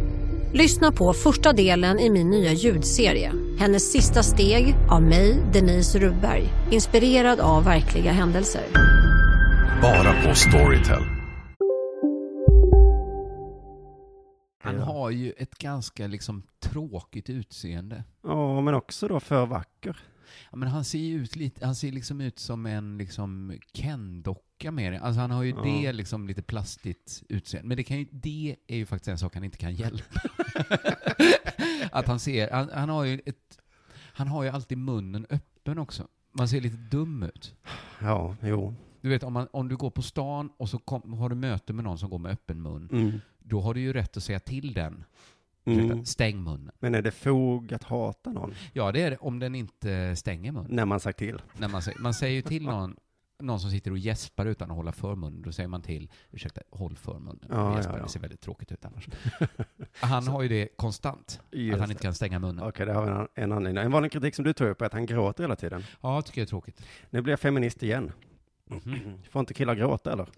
Lyssna på första delen i min nya ljudserie. Hennes sista steg av mig, Denise Rubberg. Inspirerad av verkliga händelser. Bara på Storytel. Han Ja. har ju ett ganska liksom tråkigt utseende. Ja, men också då för vacker. Ja, men han ser ju ut lite, han ser liksom ut som en liksom Ken-docka mer. Alltså han har ju Ja. det liksom lite plastigt utseende. Men det, kan ju, det är ju faktiskt en sak han inte kan hjälpa. [LAUGHS] att han ser, han, han har ju ett, han har ju alltid munnen öppen också. Man ser lite dum ut. Ja, jo. Du vet om, man, om du går på stan och så kom, har du möte med någon som går med öppen mun, Mm. då har du ju rätt att säga till den. Mm. Ursäkta, Stäng munnen. Men är det fog att hata någon Ja, det är det om den inte stänger munnen. när man sagt till? När man, säger, man säger ju till någon någon som sitter och gäspar utan att hålla för munnen, då säger man till, ursäkta, håll för munnen. Ja, Vi gäspar, ja, ja. det ser väldigt tråkigt ut [LAUGHS] annars. han har ju det konstant, Just att han det. inte kan stänga munnen. Okej, det har vi en, en anledning. En vanlig kritik som du tog upp är att han gråter hela tiden. Ja, tycker jag är tråkigt. Nu blir jag feminist igen. Får inte killar gråta eller?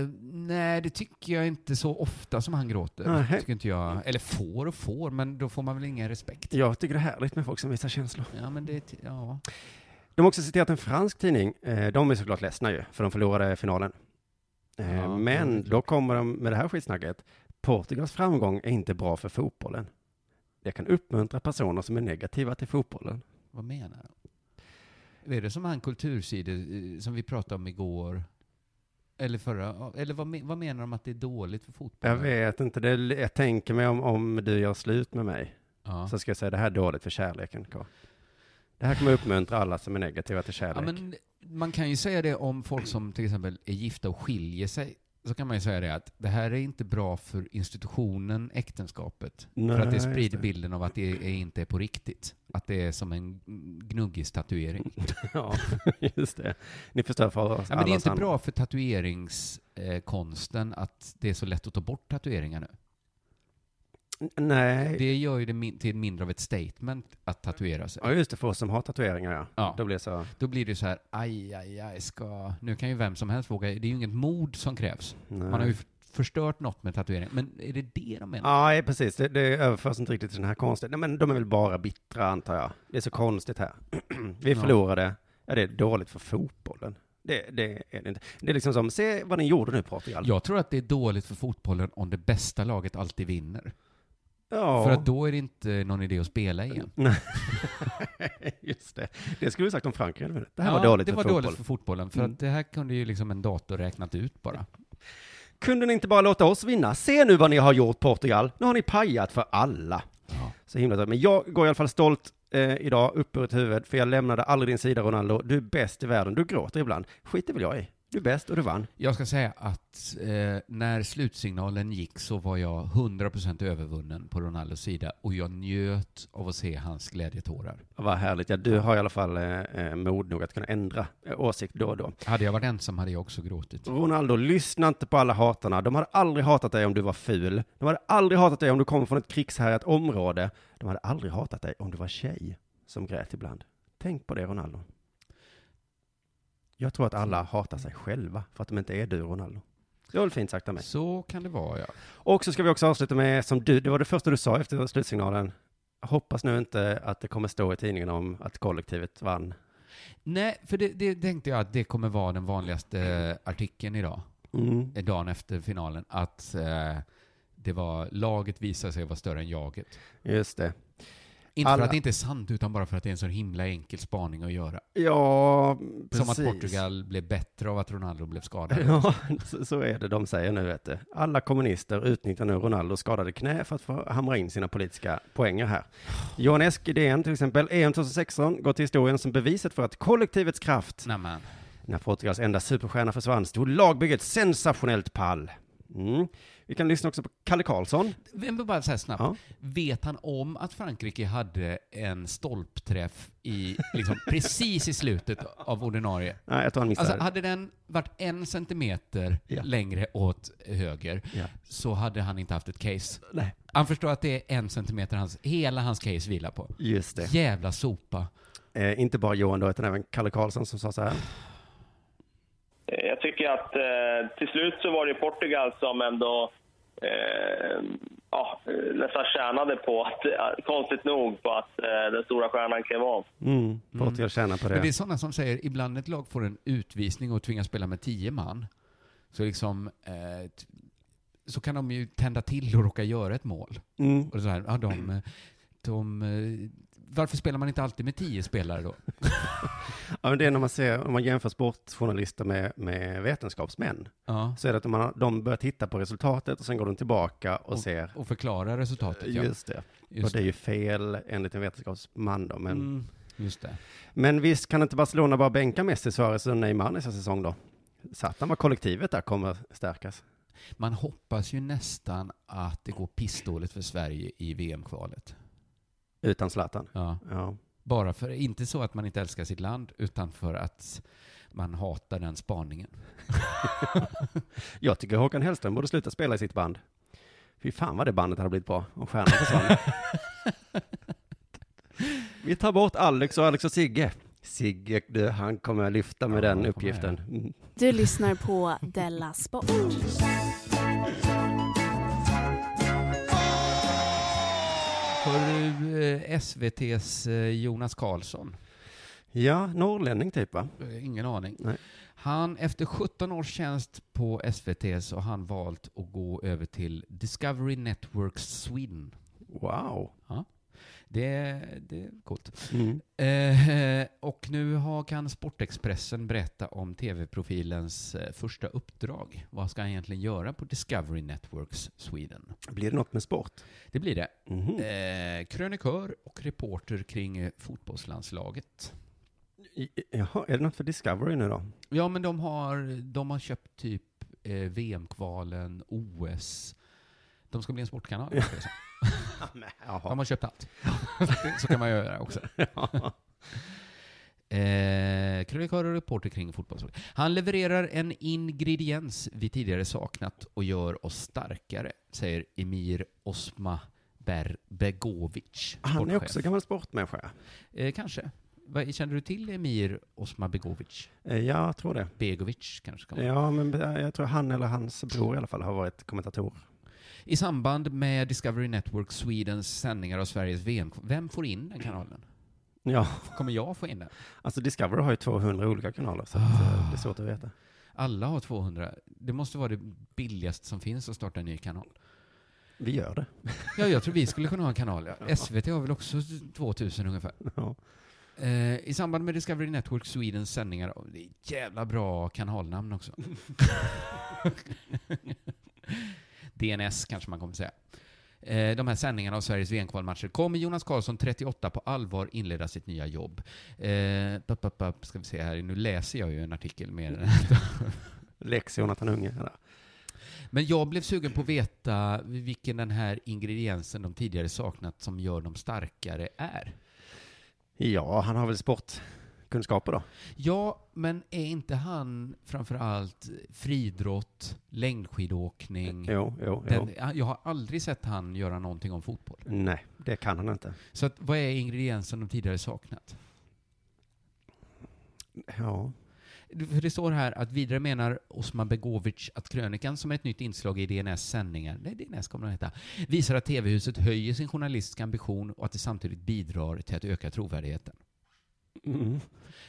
Eh, nej, det tycker jag inte så ofta som han gråter. Nej. Tycker inte jag. Eller får och får, men då får man väl ingen respekt. Jag tycker det är härligt med folk som visar känslor. Ja, men det är... ty- Ja. De har också citerat en fransk tidning. Eh, De är såklart ledsna ju, för de förlorade finalen. Eh, Ja, ja, det är Men klart. då kommer de med det här skitsnacket. Portugals framgång är inte bra för fotbollen. Det kan uppmuntra personer som är negativa till fotbollen. Vad menar de? Är det som han kultursidor eh, som vi pratade om igår? Eller förra? Eller vad, me- vad menar de att det är dåligt för Jag fotbollen? vet inte, det, är- jag tänker mig om, om du gör slut med mig, Ja. så ska jag säga det här är dåligt för kärleken. Karl. Det här kommer uppmuntra alla som är negativa till kärlek. Ja, men man kan ju säga det om folk som till exempel är gifta och skiljer sig. Så kan man ju säga det att det här är inte bra för institutionen äktenskapet. Nej, för att det just sprider det. bilden av att det är, inte är på riktigt. Att det är som en gnuggis [LAUGHS] tatuering. Ja, just det. Ni förstör för oss Ja, men det är alla inte andra. bra för tatueringskonsten att det är så lätt att ta bort tatueringar nu. Nej. Det gör ju det min- till mindre av ett statement att tatuera sig. Ja, just det, för oss som har tatueringar, ja. Ja. Då blir det så, Då blir det så här, aj, aj, aj, ska... Nu kan ju vem som helst våga. Det är ju inget mod som krävs. nej. Man har ju f- förstört något med tatuering. Men är det det de menar? Ja, ja, precis. Det, det överförs inte riktigt till den här konsten. Nej, men de är väl bara bittra, antar jag. Det är så konstigt här. [CLEARS THROAT] Vi Ja. förlorade. Ja, det är dåligt för fotbollen. Det, det är det inte. Det är liksom som, se vad ni gjorde nu Portugal. Jag tror att det är dåligt för fotbollen om det bästa laget alltid vinner. Ja. För att då är det inte någon idé att spela igen. Nej. [LAUGHS] Just det. Det skulle vi sagt om Frankrike. eller hur? Det här Ja, var dåligt det för var fotboll. dåligt för fotbollen. För Mm. att det här kunde ju liksom en dator räknat ut bara. Kunde ni inte bara låta oss vinna? Se nu vad ni har gjort Portugal. Nu har ni pajat för alla. Ja. Så himla trött. Men jag går i alla fall stolt eh, idag, upp ur ett huvud, för jag lämnade aldrig din sida Ronaldo. Du är bäst i världen. Du gråter ibland. Skit det väl jag i. Du är bäst och du vann. Jag ska säga att eh, när slutsignalen gick så var jag 100% övervunnen på Ronaldos sida och jag njöt av att se hans glädjetårar. Vad härligt. Ja, du har i alla fall eh, eh, mod nog att kunna ändra eh, åsikt då och då. Hade jag varit ensam hade jag också gråtit. Ronaldo, lyssna inte på alla hatarna. De hade aldrig hatat dig om du var ful. De hade aldrig hatat dig om du kom från ett krigshärjat område. De hade aldrig hatat dig om du var tjej som grät ibland. Tänk på det, Ronaldo. Jag tror att alla hatar sig själva för att de inte är du, Ronaldo. Det var väl fint sagt av mig. Så kan det vara, ja. Och så ska vi också avsluta med, som du, det var det första du sa efter slutsignalen. Hoppas nu inte att det kommer stå i tidningen om att kollektivet vann. Nej, för det, det tänkte jag att det kommer vara den vanligaste artikeln idag, Mm. eh, dagen efter finalen, att eh, det var laget visade sig vara större än jaget. Just det. Inte för Alla- att det inte är sant, utan bara för att det är en så himla enkel spaning att göra. Ja, precis. Som att Portugal blev bättre av att Ronaldo blev [LAUGHS] skadad. Ja, så- så är det de säger nu, vet du. Alla kommunister utnyttjar nu Ronaldos skadade knä för att få hamra in sina politiska poänger här. Johan Esk i DN till exempel, EM 2016 går till historien som beviset för att kollektivets kraft, Nämen. när Portugals enda superstjärna försvann, stod lagbygget sensationellt pall. Mm. Vi kan lyssna också på Kalle Karlsson. Vem vill bara säga snabbt. Ja. Vet han om att Frankrike hade en stolpträff i, liksom, [LAUGHS] precis i slutet av ordinarie? Nej, jag tror han missade. Alltså, hade den varit en centimeter Ja. längre åt höger Ja. så hade han inte haft ett case. Nej. Han förstår att det är en centimeter hans, hela hans case vilar på. Just det. Jävla sopa. Eh, inte bara Johan då, utan även Kalle Karlsson som sa så här. Eh, Jag tycker att eh, till slut så var det Portugal som ändå eh, ja, eh, nästan tjänade på, att, eh, konstigt nog, på att eh, den stora stjärnan klev av. Mm, Portugal tjänar på Men det är det. sådana som säger, ibland ett lag får en utvisning och tvingas spela med tio man, så liksom, eh, t- så kan de ju tända till och råka göra ett mål. Mm. Och så här, ja, de, eh, de, eh, varför spelar man inte alltid med tio spelare då? Ja, men det är när man, ser, om man jämför sportjournalister med, med vetenskapsmän. Ja. Så är det att man, de börjar titta på resultatet och sen går de tillbaka och, ser. Och förklara resultatet. Ja. Just det. Just och det är ju fel enligt en vetenskapsman då. Men, Mm, just det. men visst kan inte Barcelona bara bänka Messi, Suarez och Neymar nästa säsong då? Satan vad kollektivet där kommer stärkas. Man hoppas ju nästan att det går pissdåligt för Sverige i VM-kvalet. Utan Zlatan. Ja. Ja. Bara för, inte så att man inte älskar sitt land, utan för att man hatar den spaningen. Jag tycker Håkan Hellström borde sluta spela i sitt band. Fy fan vad det bandet hade blivit bra om stjärnan försvann. [LAUGHS] Vi tar bort Alex och Alex och Sigge. Sigge, du, han kommer att lyfta med den uppgiften. Mm. Du lyssnar på Della Sport. Har du eh, SVTs eh, Jonas Karlsson? Ja, norrlänning typ va? Eh, Ingen aning. Nej. Han, efter 17 års tjänst på SVT så har han valt att gå över till Discovery Network Sweden. Wow. Ja. Det, det är coolt. Mm. Eh, och nu har, kan Sportexpressen berätta om TV-profilens eh, första uppdrag. Vad ska han egentligen göra på Discovery Networks Sweden? Blir det något med sport? Det blir det. Mhm. Eh, krönikör och reporter kring eh, fotbollslandslaget. I- i- Jaha, är det något för Discovery nu då? Ja, men de har, de har köpt typ eh, VM-kvalen, OS. De ska bli en sportkanal. ska jag säga. Jaha. De har köpt allt. [LAUGHS] Så kan man göra [LAUGHS] också. Eh, krönikör och reporter kring fotbollsfrågor. Han levererar en ingrediens vi tidigare saknat och gör oss starkare, säger Emir Osma Ber- Begovic, Han är sportchef. också gammal sportmänniska. Eh, kanske. Vad- Känner du till Emir Osma Begovic? Eh, Ja, jag tror det. Begovic kanske kan man Ja, men eh, jag tror han eller hans bror i alla fall har varit kommentator. I samband med Discovery Network Swedens sändningar av Sveriges VM, vem får in den kanalen? Ja, Kommer jag få in den? alltså Discovery har ju 200 olika kanaler, så att, Ah. eh, det är svårt att veta. Alla har 200. Det måste vara det billigaste som finns att starta en ny kanal. Vi gör det. [LAUGHS] Ja, jag tror vi skulle kunna ha en kanal. Ja. SVT har väl också 2000 ungefär. Ja. Eh, I samband med Discovery Network Swedens sändningar, oh, det är ett jävla bra kanalnamn också. DNS kanske man kommer säga. Eh, de här sändningarna av Sveriges VM-kvalmatcher kommer Jonas Karlsson, 38, på allvar inleda sitt nya jobb. Eh, pop, pop, pop, ska vi se här, nu läser jag ju en artikel med Lex Jonathan Unge. Eller? Men jag blev sugen på att veta vilken den här ingrediensen de tidigare saknat som gör dem starkare är. Ja, han har väl sportkunskaper då. Ja, men är inte han framförallt friidrott, längdskidåkning? Jo, jo, jo. Mm. Den, jag har aldrig sett han göra någonting om fotboll. Nej, det kan han inte. Så att, vad är ingrediensen de tidigare saknat? Ja, För det står här att vidare menar Osman Begovic att krönikan som är ett nytt inslag i DNS sändningar, nej DNS kommer den heta, visar att TV-huset höjer sin journalistiska ambition och att det samtidigt bidrar till att öka trovärdigheten. Mm.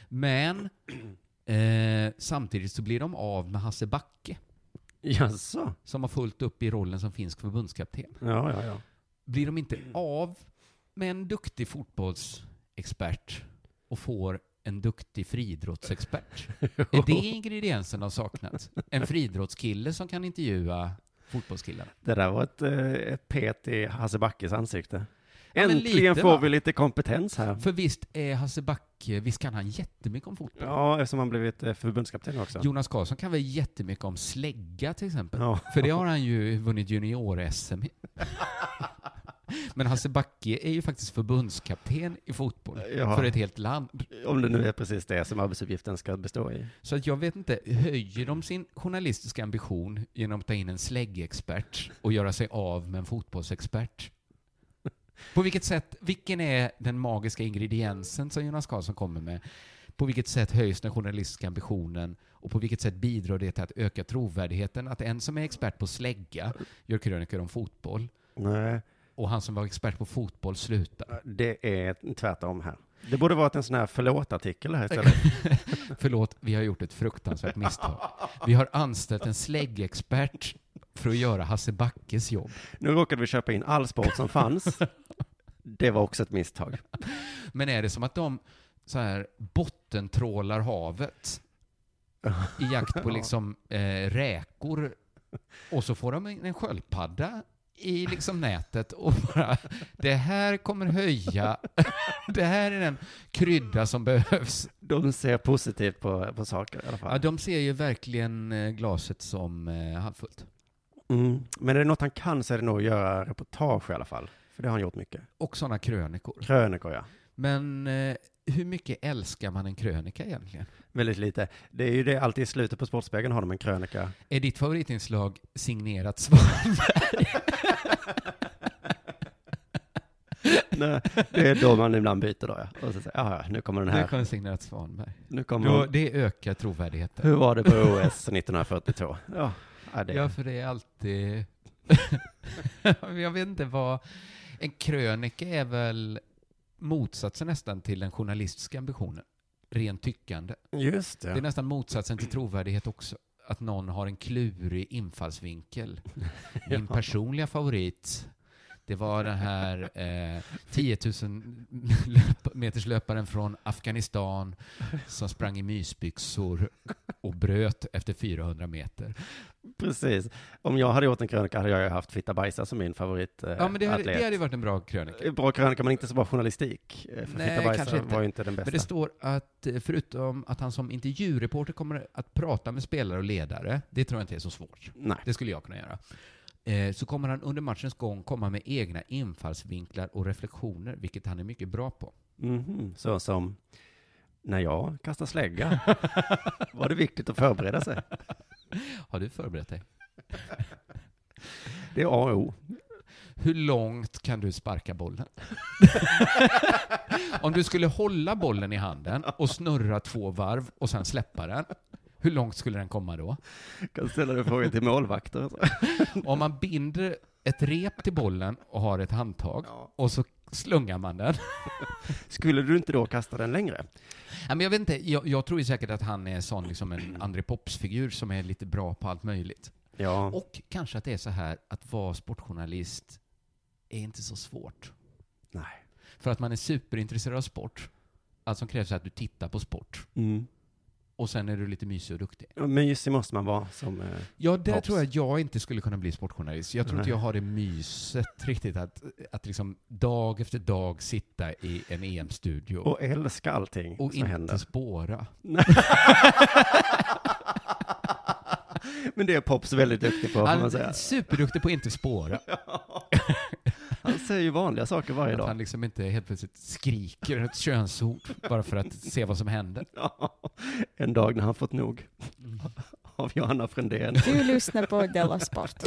Men [CLEARS THROAT] eh, samtidigt så blir de av med Hasse Backe, Jaså? som har fullt upp i rollen som finsk förbundskapten. Ja, ja, ja. Blir de inte av med en duktig fotbollsexpert och får en duktig friidrottsexpert? Är det ingrediensen de saknat? En friidrottskille som kan intervjua fotbollskillarna? Det där var ett, eh, ett pet i Hasse Backes ansikte. Ja, men Äntligen lite, får va? vi lite kompetens här. För visst är Hasse Backe, visst kan han jättemycket om fotboll? Ja, eftersom han blivit eh, förbundskapten också. Jonas Karlsson kan väl jättemycket om slägga till exempel? Ja. För det har han ju vunnit junior-SM i. [LAUGHS] Men Hasse Backe är ju faktiskt förbundskapten i fotboll Ja. för ett helt land. Om det nu är precis det som arbetsuppgiften ska bestå i. Så att jag vet inte, höjer de sin journalistiska ambition genom att ta in en släggexpert och göra sig av med en fotbollsexpert? På vilket sätt, vilken är den magiska ingrediensen som Jonas Karlsson kommer med? På vilket sätt höjs den journalistiska ambitionen och på vilket sätt bidrar det till att öka trovärdigheten? Att en som är expert på slägga gör krönikor om fotboll Nej, och han som var expert på fotboll slutar. det är tvärtom här. Det borde varit en sån här förlåt-artikel [LAUGHS] här istället. Förlåt, vi har gjort ett fruktansvärt misstag. Vi har anställt en släggexpert för att göra Hasse Backes jobb. Nu råkade vi köpa in all sport som fanns. Det var också ett misstag. Men är det som att de så här bottentrålar havet i jakt på liksom eh, räkor och så får de en en sköldpadda i liksom nätet och bara det här kommer höja, det här är den krydda som behövs. De ser positivt på, på saker i alla Ja, fall. de ser ju verkligen eh, glaset som eh, halvfullt. Mm. Men är det något han kan så är det nog att göra reportage i alla fall. För det har han gjort mycket. Och sådana krönikor. Krönikor, ja. Men eh, hur mycket älskar man en krönika egentligen? väldigt lite. Det är ju det, alltid i slutet på Sportspegeln har de en krönika. Är ditt favoritinslag signerat Svanberg? Nej, det är då man ibland byter då ja. Och så säger jag, "Jaha, nu kommer den Nu här. kommer [LAUGHS] signerat Svanberg. Nu kommer Då- hon. Det ökar trovärdigheten. Mm. Hur var det på OS 1942? Ja, ja, det. Ja, för det är alltid... [LAUGHS] jag vet inte vad... En krönika är väl motsatsen nästan till den journalistiska ambitionen. Rent tyckande. Just det. Det är nästan motsatsen till trovärdighet också. Att någon har en klurig infallsvinkel. Min Ja. personliga favorit, det var den här eh, 10 000 löp- meterslöparen från Afghanistan som sprang i mysbyxor och bröt efter 400 meter. Precis. Om jag hade gjort en krönika hade jag ju haft Fitta Bajsa som min favorit. eh, Ja, men det hade, atlet. det hade ju varit en bra krönika. Bra krönika, men inte så bra journalistik. Eh, För Fitta Bajsa var ju inte den bästa. Men det står att eh, förutom att han som intervjureporter kommer att prata med spelare och ledare, det tror jag inte är så svårt. Nej. Det skulle jag kunna göra. Eh, Så kommer han under matchens gång komma med egna infallsvinklar och reflektioner, vilket han är mycket bra på. Mhm, Så som, när jag [LAUGHS] kastar slägga var det viktigt att förbereda sig. Har du förberett dig? Det är A och O. Hur långt kan du sparka bollen? [LAUGHS] Om du skulle hålla bollen i handen och snurra två varv och sen släppa den, hur långt skulle den komma då? Kan ställa den frågan till målvakter. Om man binder ett rep till bollen och har ett handtag och så slungar man den. Skulle du inte då kasta den längre? Nej, men jag, vet inte, jag, jag tror ju säkert att han är sån, liksom en André Pops-figur som är lite bra på allt möjligt. Ja. Och kanske att det är så här att vara sportjournalist är inte så svårt. Nej. För att man är superintresserad av sport. Allt som krävs är att du tittar på sport. Mm. Och sen är du lite mysig och duktig. Ja, Mysig måste man vara som eh, Ja, där Pops. tror jag att jag inte skulle kunna bli sportjournalist. Jag tror inte Nej. jag har det myset riktigt att, att liksom dag efter dag sitta i en EM-studio. Och älska allting Och som inte händer. spåra. Nej. Men det är Pops väldigt duktig på, får man Han säga. är superduktig på att inte [LAUGHS] spåra. Han säger ju vanliga saker varje Att dag. han liksom inte helt plötsligt skriker ett könsord bara för att se vad som händer. [LAUGHS] En dag när han fått nog av Johanna Frändén. Du lyssnar på Della Sport.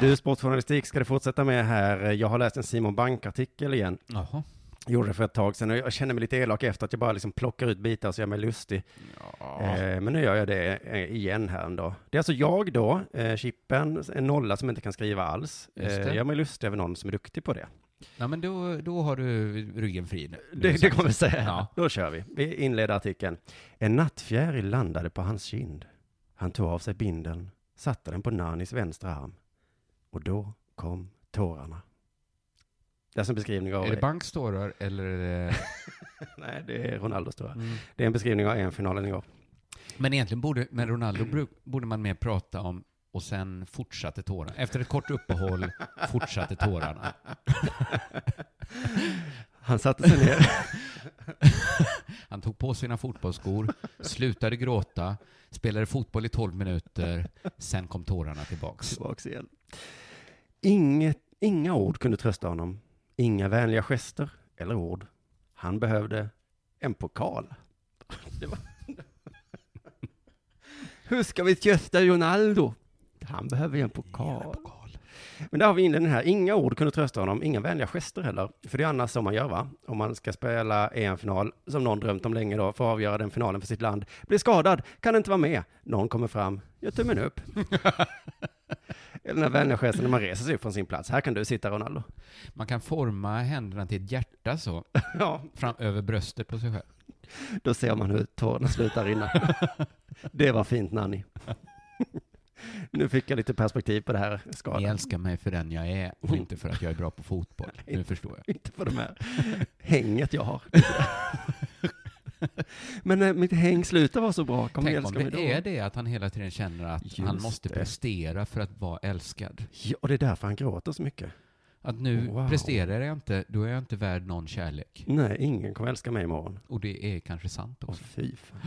Du, sportjournalistik ska du fortsätta med här. Jag har läst en Simon Bank-artikel igen. Jaha. Gjorde det för ett tag sedan och jag känner mig lite elak efter att jag bara liksom plockar ut bitar så jag är mig lustig. Eh, men nu gör jag det eh, igen här en dag. Det är alltså jag då, eh, Chippen, en nolla som inte kan skriva alls. Eh, Just det. jag gör mig lustig över någon som är duktig på det. Nej, men då, då har du ryggen fri nu. Det, det kommer vi säga. Ja. Då kör vi. Vi inleder artikeln. En nattfjäril landade på hans kind. Han tog av sig bindeln, satte den på Nanis vänstra arm. Och då kom tårarna. Det är som beskrivning av... Är det Banks tårar eller eh, är [LAUGHS] det... Nej, det är Ronaldos tårar. Mm. Det är en beskrivning av EM-finalen igår. Men egentligen borde, med Ronaldo bru- borde man mer prata om och sen fortsatte tårarna. Efter ett kort uppehåll fortsatte tårarna. Han satte sig ner. [LAUGHS] Han tog på sina fotbollsskor, slutade gråta, spelade fotboll i 12 minuter, sen kom tårarna tillbaks. Tillbaks igen. Inget, inga ord kunde trösta honom. Inga vänliga gester eller ord. Han behövde en pokal. [LAUGHS] Det var... [LAUGHS] Hur ska vi trösta Ronaldo? Han behöver ju en pokal. Men där har vi inledningen här. Inga ord kunde trösta honom, inga vänliga gester heller. För det är annars så man gör va? Om man ska spela EM-final, som någon drömt om länge då, får avgöra den finalen för sitt land. Blir skadad, kan inte vara med. Någon kommer fram, gör tummen upp. Eller den här vänliga gesten när man reser sig upp från sin plats. Här kan du [LAUGHS] sitta Ronaldo. Man kan forma händerna till ett hjärta så, Ja. fram över bröstet på sig själv. Då ser man hur tårarna slutar rinna. Det var [LAUGHS] fint Nanny. Nu fick jag lite perspektiv på det här skadan. Ni älskar mig för den jag är och inte för att jag är bra på fotboll. Nu förstår jag. [LAUGHS] Inte för de här hänget jag har. [LAUGHS] Men eh, mitt häng slutar vara så bra. Kommer Tänk älska om mig då. det är det att han hela tiden känner att han Just måste det. prestera för att vara älskad. Ja, och det är därför han gråter så mycket. Att nu Wow. presterar jag inte, då är jag inte värd någon kärlek. Nej, ingen kommer älska mig imorgon. Och Alltså, det är kanske sant också. Fy fan.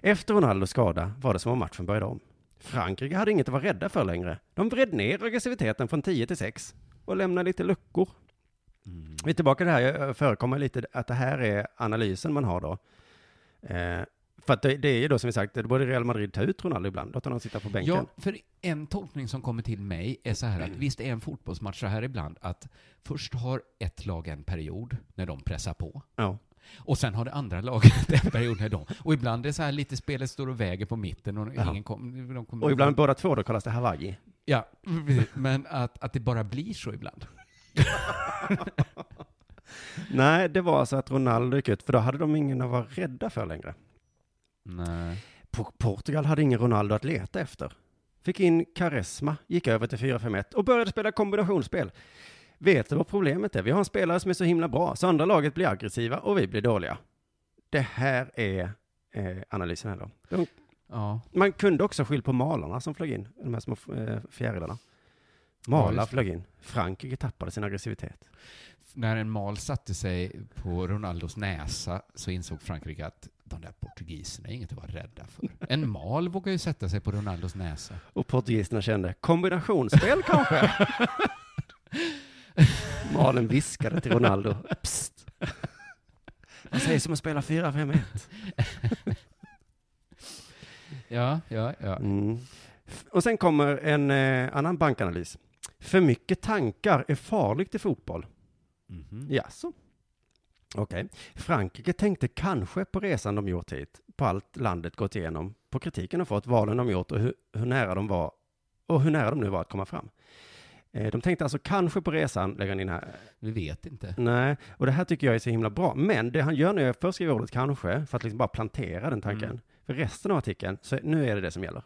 Efter Ronaldos skada var det som om matchen började om. Frankrike hade inget att vara rädda för längre. De vred ner aggressiviteten från 10 till 6 och lämnade lite luckor. Vi är tillbaka till det här, jag förekommer lite att det här är analysen man har då. Eh, för att det, det är ju då som vi sagt, det borde Real Madrid ta ut Ronaldo ibland, låta honom sitta på bänken. Ja, för en tolkning som kommer till mig är så här [CLEARS THROAT] att visst är en fotbollsmatch så här ibland att först har ett lag en period när de pressar på. Ja. Och sen har det andra laget [LAUGHS] en period när de... Och ibland är det så här lite spelet står och väger på mitten och Ja. ingen kom, de kommer... Och ibland båda två, då kallas det Hawaii. Ja, [LAUGHS] precis. men att, att det bara blir så ibland. Nej, det var alltså att Ronaldo gick ut, för då hade de ingen att vara rädda för längre. Nej. Po- Portugal hade ingen Ronaldo att leta efter. Fick in Karesma, gick över till 4-5-1 och började spela kombinationsspel. Vet du vad problemet är? Vi har en spelare som är så himla bra, så andra laget blir aggressiva och vi blir dåliga. Det här är eh, analysen här då. De, Ja. Man kunde också skylla på malarna som flög in, de här små eh, fjärilarna. Ja, Malar just det. flög in. Frankrike tappade sin aggressivitet. När en mal satte sig på Ronaldos näsa så insåg Frankrike att de där portugiserna är inget att vara rädda för. En mal vågar ju sätta sig på Ronaldos näsa. Och portugiserna kände kombinationsspel kanske? [LAUGHS] Malen viskade till Ronaldo. Psst. Vad sägs om att spela 4-5-1? Ja, ja, ja. Mm. F- Och sen kommer en eh, annan bankanalys. För mycket tankar är farligt i fotboll. Mhm. Jaså? Okej. Frankrike tänkte kanske på resan de gjort hit, på allt landet gått igenom, på kritiken de fått, valen de gjort och hur, hur nära de var och hur nära de nu var att komma fram. Eh, De tänkte alltså kanske på resan, lägger han in här. Vi vet inte. Nej, och det här tycker jag är så himla bra. Men det han gör nu är att först skriva ordet kanske, för att liksom bara plantera den tanken. Mm. För resten av artikeln, så nu är det det som gäller.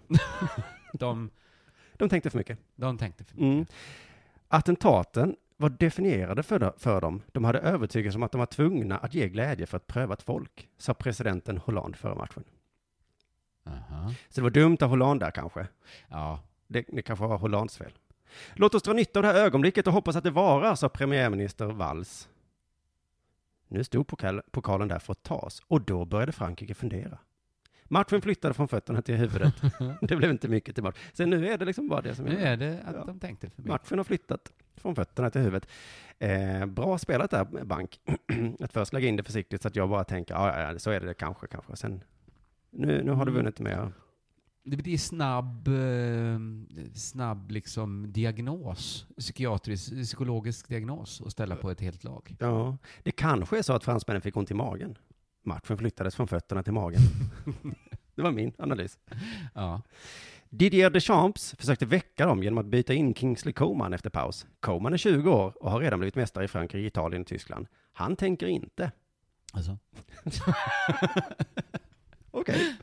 De, De tänkte för mycket. de tänkte för Mm. Attentaten var definierade för, de- för dem. De hade övertygelsen om att de var tvungna att ge glädje för att pröva ett folk, sa presidenten Hollande före matchen. Aha. Så det var dumt av Hollande där kanske. Ja. Det, det kanske var Hollands fel. Låt oss dra nytta av det här ögonblicket och hoppas att det varar, sa premiärminister Valls. Nu stod pokal, pokalen där för att tas och då började Frankrike fundera. Matchen flyttade från fötterna till huvudet. Det blev inte mycket till match. Så nu är det liksom bara det som Nu gäller. är det att Ja. de tänkte för mycket. Matchen har flyttat från fötterna till huvudet. Eh, bra spelat där, Bank. [CLEARS THROAT] att först lägga in det försiktigt så att jag bara tänker, "Ah, ja, ja, ja, så är det kanske, kanske. Sen, nu, nu har du Mm. vunnit mer. Det blir snabb, eh, snabb liksom diagnos, psykiatrisk, psykologisk diagnos att ställa på ett helt lag. Ja, det kanske är så att fransmännen fick ont i magen. Matchen flyttades från fötterna till magen. det var min analys. Ja. Didier Deschamps försökte väcka dem genom att byta in Kingsley Coman efter paus. Coman är 20 år och har redan blivit mästare i Frankrike, Italien och Tyskland. Han tänker inte. Alltså. [LAUGHS] Okej.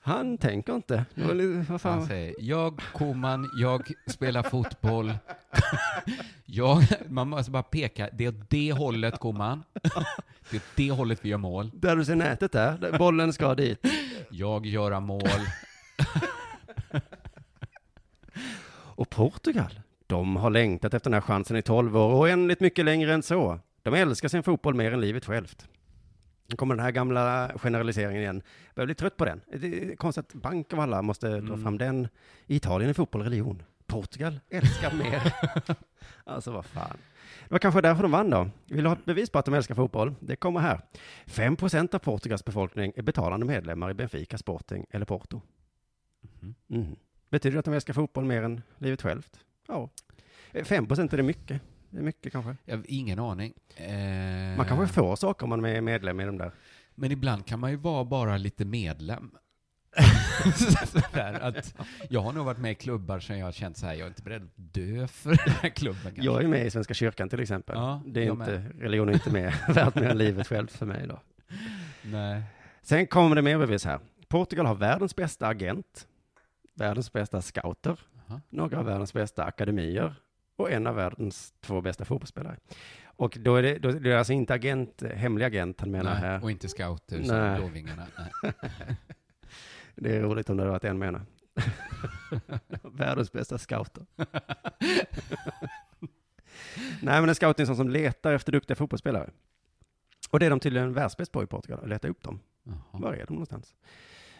Han tänker inte. Det var lite- Vad fan? Mm. Han säger, jag Koman, jag spelar fotboll. [LAUGHS] jag, man måste bara peka, det är åt det hållet Koman. [LAUGHS] det är åt det hållet vi gör mål. Där du ser nätet där, där bollen ska dit. Jag göra mål. Och Portugal, de har längtat efter den här chansen i 12 år och oändligt mycket längre än så. De älskar sin fotboll mer än livet självt. Nu kommer den här gamla generaliseringen igen. Jag börjar bli trött på den. Det är konstigt att bank av alla måste dra fram den. I Italien är fotboll religion. Portugal älskar mer. alltså vad fan. Det var kanske därför de vann då. Vill du ha ett bevis på att de älskar fotboll? Det kommer här. 5% av Portugals befolkning är betalande medlemmar i Benfica, Sporting eller Porto. Mhm. Betyder det att de älskar fotboll mer än livet självt? Ja. Eh, 5% är det mycket. Det är mycket kanske. Jag har ingen aning. Eh, Man kanske får saker om man är medlem i de där. Men ibland kan man ju vara bara lite medlem. [LAUGHS] Sådär, att jag har nog varit med i klubbar sen jag har känt så här, jag är inte beredd att dö för den här klubben. Kanske. Jag är med i Svenska kyrkan till exempel. Ja, det är jag inte, religion är inte med, [LAUGHS] värt mer [LAUGHS] än livet självt för mig då. Nej. Sen kommer det mer bevis här. Portugal har världens bästa agent, världens bästa scouter, Jaha. några av världens bästa akademier och en av världens två bästa fotbollsspelare. Och då är det, då, det är alltså inte agent, hemlig agent han menar Nej, här. och inte scouter som Nej. Blåvingarna. Nej. Det är roligt om det hade varit en menar. [LAUGHS] Världens bästa scouter. [LAUGHS] Nej, men en scout är en sån som letar efter duktiga fotbollsspelare. Och det är de tydligen världsbäst på i Portugal, att leta upp dem. Jaha. Var är de någonstans?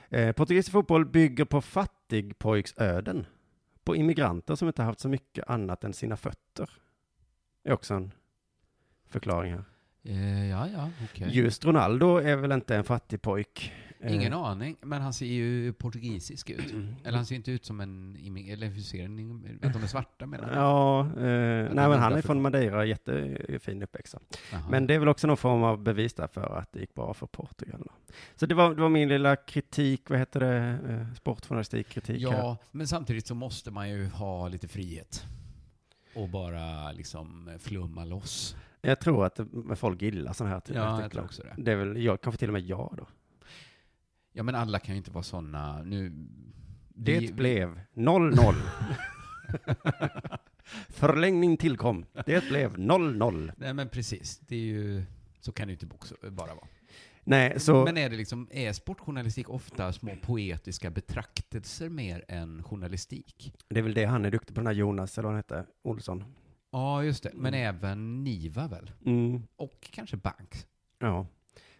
Eh, portugisisk fotboll bygger på fattigpojksöden. På immigranter som inte haft så mycket annat än sina fötter. Det är också en förklaring här. Eh, ja, ja, okej. Just Ronaldo är väl inte en fattig pojk? Eh, Mm. Ingen aning, men han ser ju portugisisk ut. Eller han ser inte ut som en immig- eller hur ser den? Att de är svarta menar jag. Ja, eh, nej det är men han är därför. från Madeira, jättefin uppväxt. så. Jaha. Men det är väl också någon form av bevis där för att det gick bra för Portugal. då. Så det var, det var min lilla kritik, vad heter det, eh, sportjournalistikkritik här. Ja, men samtidigt så måste man ju ha lite frihet. Och bara liksom flumma loss. Jag tror att eh, folk gillar sådana här typer Ja, av jag artiklar. tror också det. är väl, jag, kanske till och med jag då. Ja, men alla kan ju inte vara sådana. Nu... Det vi- blev 0-0. [LAUGHS] Förlängning tillkom. Det blev 0-0. Nej, men precis. Det är ju... Så kan det ju inte boxa- bara vara. Nej, så... Men är det liksom, är sportjournalistik ofta små poetiska betraktelser mer än journalistik? Det är väl det han är duktig på, den här Jonas, eller vad han heter, Olsson. Ja, just det. Men även Niva väl? Mm. Och kanske Banks. Ja.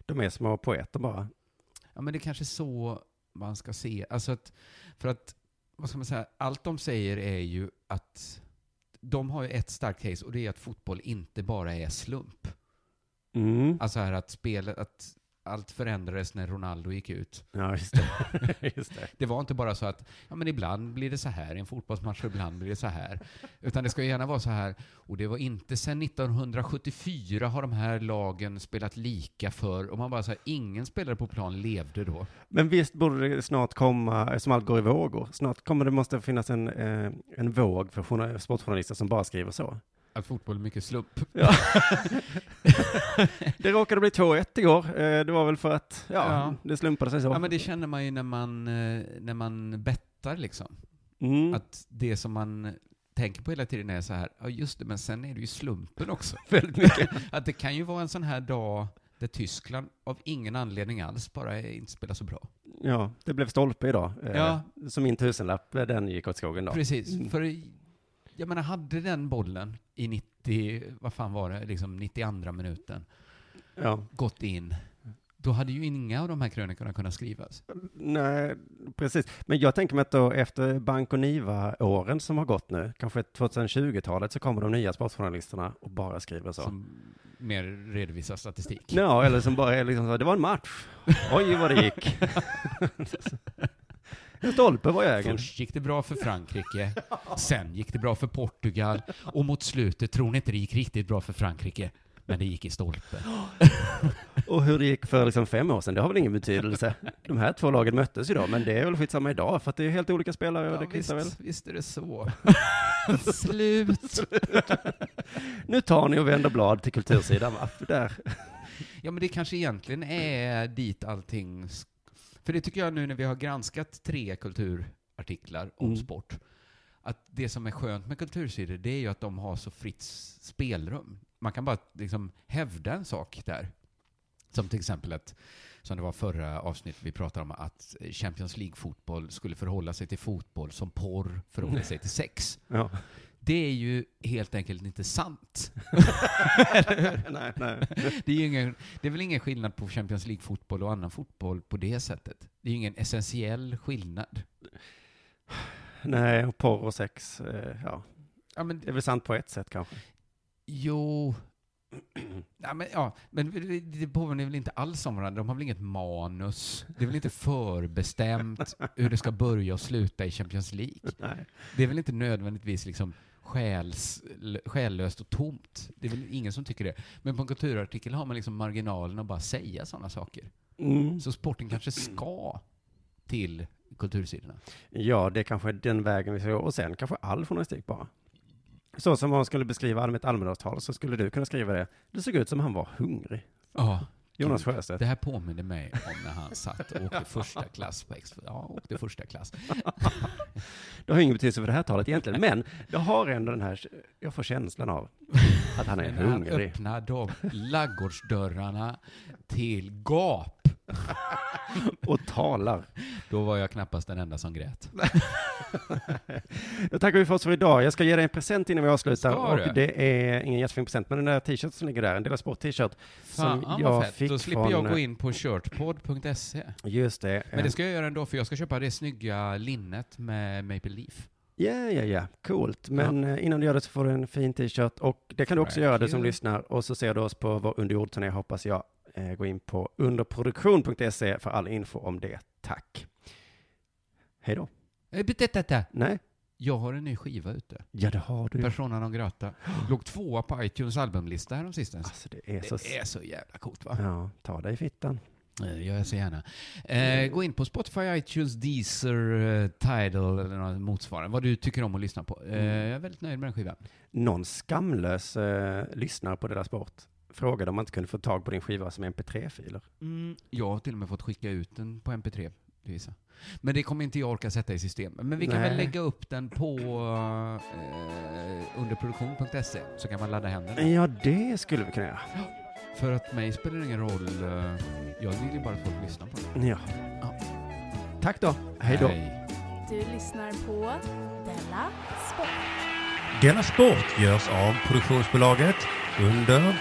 De är små poeter bara. Ja, men det är kanske så man ska se. Alltså att, för att, vad ska man säga, allt de säger är ju att de har ju ett starkt case och det är att fotboll inte bara är slump. Mm. Alltså här att spelet, att allt förändrades när Ronaldo gick ut. Ja, just det. [LAUGHS] just det. Det var inte bara så att ja, men ibland blir det så här i en fotbollsmatch och ibland blir det så här. Utan det ska ju gärna vara så här. Och det var inte sedan 1974 har de här lagen spelat lika för. Och man bara så här, ingen spelare på plan levde då. Men visst borde det snart komma, eh, som allt går i vågor, snart kommer det måste finnas en, eh, en våg för journa- sportjournalister som bara skriver så. Att fotboll är mycket slump. Det råkade bli 2-1 igår, eh, det var väl för att, ja, Ja. det slumpade sig så. Ja, men det känner man ju när man, eh, när man bettar liksom. Mm. Att det som man tänker på hela tiden är så här, ja just det, men sen är det ju slumpen också. [LAUGHS] Väldigt mycket. att det kan ju vara en sån här dag där Tyskland av ingen anledning alls bara inte spelar så bra. Ja, det blev stolpe idag. Eh, Ja. Så min tusenlapp, eh, den gick åt skogen då. Mm. Precis, för jag menar, hade den bollen i 90, vad fan var det, liksom 92 minuten Ja. gått in, då hade ju inga av de här krönikorna kunnat skrivas. Nej, precis. Men jag tänker mig att då efter Bank och Niva-åren som har gått nu, kanske 2020-talet, så kommer de nya sportjournalisterna och bara skriver så. Som mer redovisar statistik. Ja, eller som bara är liksom så, det var en match. Oj, vad det gick. [LAUGHS] en stolpe var jägen. Först gick det bra för [LAUGHS] Frankrike, sen gick det bra för Portugal, och mot slutet tror ni inte det gick riktigt bra för Frankrike, men det gick i stolpen. Och hur det gick för liksom fem år sedan, det har väl ingen betydelse. De här två lagen möttes ju då, men det är väl skitsamma idag, för att det är helt olika spelare och det kvittar väl. visst, visst är det [LAUGHS] så. Slut. Nu tar ni och vänder blad till kultursidan, va? För Där. Ja, men det kanske egentligen är dit allting... sk- För det tycker jag nu när vi har granskat tre kulturartiklar om Mm. sport, att det som är skönt med kultursidor, det är ju att de har så fritt s- spelrum. Man kan bara liksom hävda en sak där. Som till exempel att, som det var förra avsnittet vi pratade om, att Champions League-fotboll skulle förhålla sig till fotboll som porr förhåller sig till sex. Ja. Det är ju helt enkelt inte sant. nej, nej. Det är, ju ingen, det är väl ingen skillnad på Champions League-fotboll och annan fotboll på det sättet? Det är ju ingen essentiell skillnad. Nej, och porr och sex, eh, ja. Ja, men, Det är väl sant på ett sätt kanske. jo... [CLEARS THROAT] Ja, men, ja, men det- det påminner väl inte alls om varandra? De har väl inget manus? Det är väl inte [LAUGHS] förbestämt hur det ska börja och sluta i Champions League? Nej. Det är väl inte nödvändigtvis liksom själs, själlöst och tomt? Det är väl ingen som tycker det. Men på en kulturartikel har man liksom marginalen att bara säga sådana saker. Mm. Så sporten kanske ska till kultursidorna. Ja, det är kanske är den vägen vi ska gå. Och sen kanske all journalistik bara. Så som han skulle beskriva Alm- ett Almedalstal så skulle du kunna skriva det. Det såg ut som han var hungrig. Ja. Jonas Sjöstedt. Det här påminner mig om när han satt och åkte första klass på Expo. Ja, åkte första klass. Det har ingen betydelse för det här talet egentligen, men jag har ändå den här, jag får känslan av [LAUGHS] att han är Men när han hungrig. öppnar de laggårdsdörrarna till gap, Och talar. då var jag knappast den enda som grät. Då tackar vi för oss för idag. Jag ska ge dig en present innan vi avslutar. Ska och du? det är ingen jättefin present, men den där t-shirten som ligger där, en Dela Sport-t-shirt. Fan, Som vad Alltså, jag fett. fick Då slipper från... jag gå in på shirtpod.se. Just det. E. Men det ska jag göra ändå, för jag ska köpa det snygga linnet med Maple Leaf. Ja, ja, ja, coolt. Men eh, innan du gör det så får du en fin t-shirt och det kan du också Thank göra du you. som lyssnar. Och så ser du oss på vår underjordturné hoppas jag. Eh, Gå in på underproduktion.se för all info om det. Tack. Hej då. Eh, bet- det- det- det. Nej. Jag har en ny skiva ute. Ja, det har du. Persona non grata. Låg tvåa på iTunes albumlista häromsistens. Alltså det är så- Det är så jävla coolt va? Ja, ta dig i fittan. Det gör jag så gärna. Eh, gå in på Spotify, iTunes, Deezer, eh, Tidal eller något motsvarande. Vad du tycker om att lyssna på. Eh, Mm. jag är väldigt nöjd med den skivan. Någon skamlös eh, lyssnare på deras sport frågade om man inte kunde få tag på din skiva som mp3-filer. Mm, Jag har till och med fått skicka ut den på MP3 till vissa. Men det kommer inte jag orka sätta i system. Men vi kan Nej. väl lägga upp den på eh, underproduktion.se så kan man ladda hem den. där. Ja, det skulle vi kunna göra. För att mig spelar det ingen roll. eh, Jag vill ju bara att folk lyssnar på den. Ja. Tack då. Hej då. Du lyssnar på Della Sport. Denna sport görs av produktionsbolaget under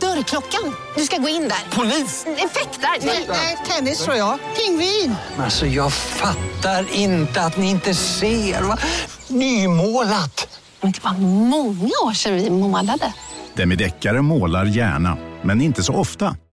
Dörrklockan. Du ska gå in där. Polis? Effektar? Nej, nej, tennis tror jag. Pingvin. Alltså jag fattar inte att ni inte ser. Va? Nymålat! Men det var många år sedan vi målade. Demideckare målar gärna, men inte så ofta.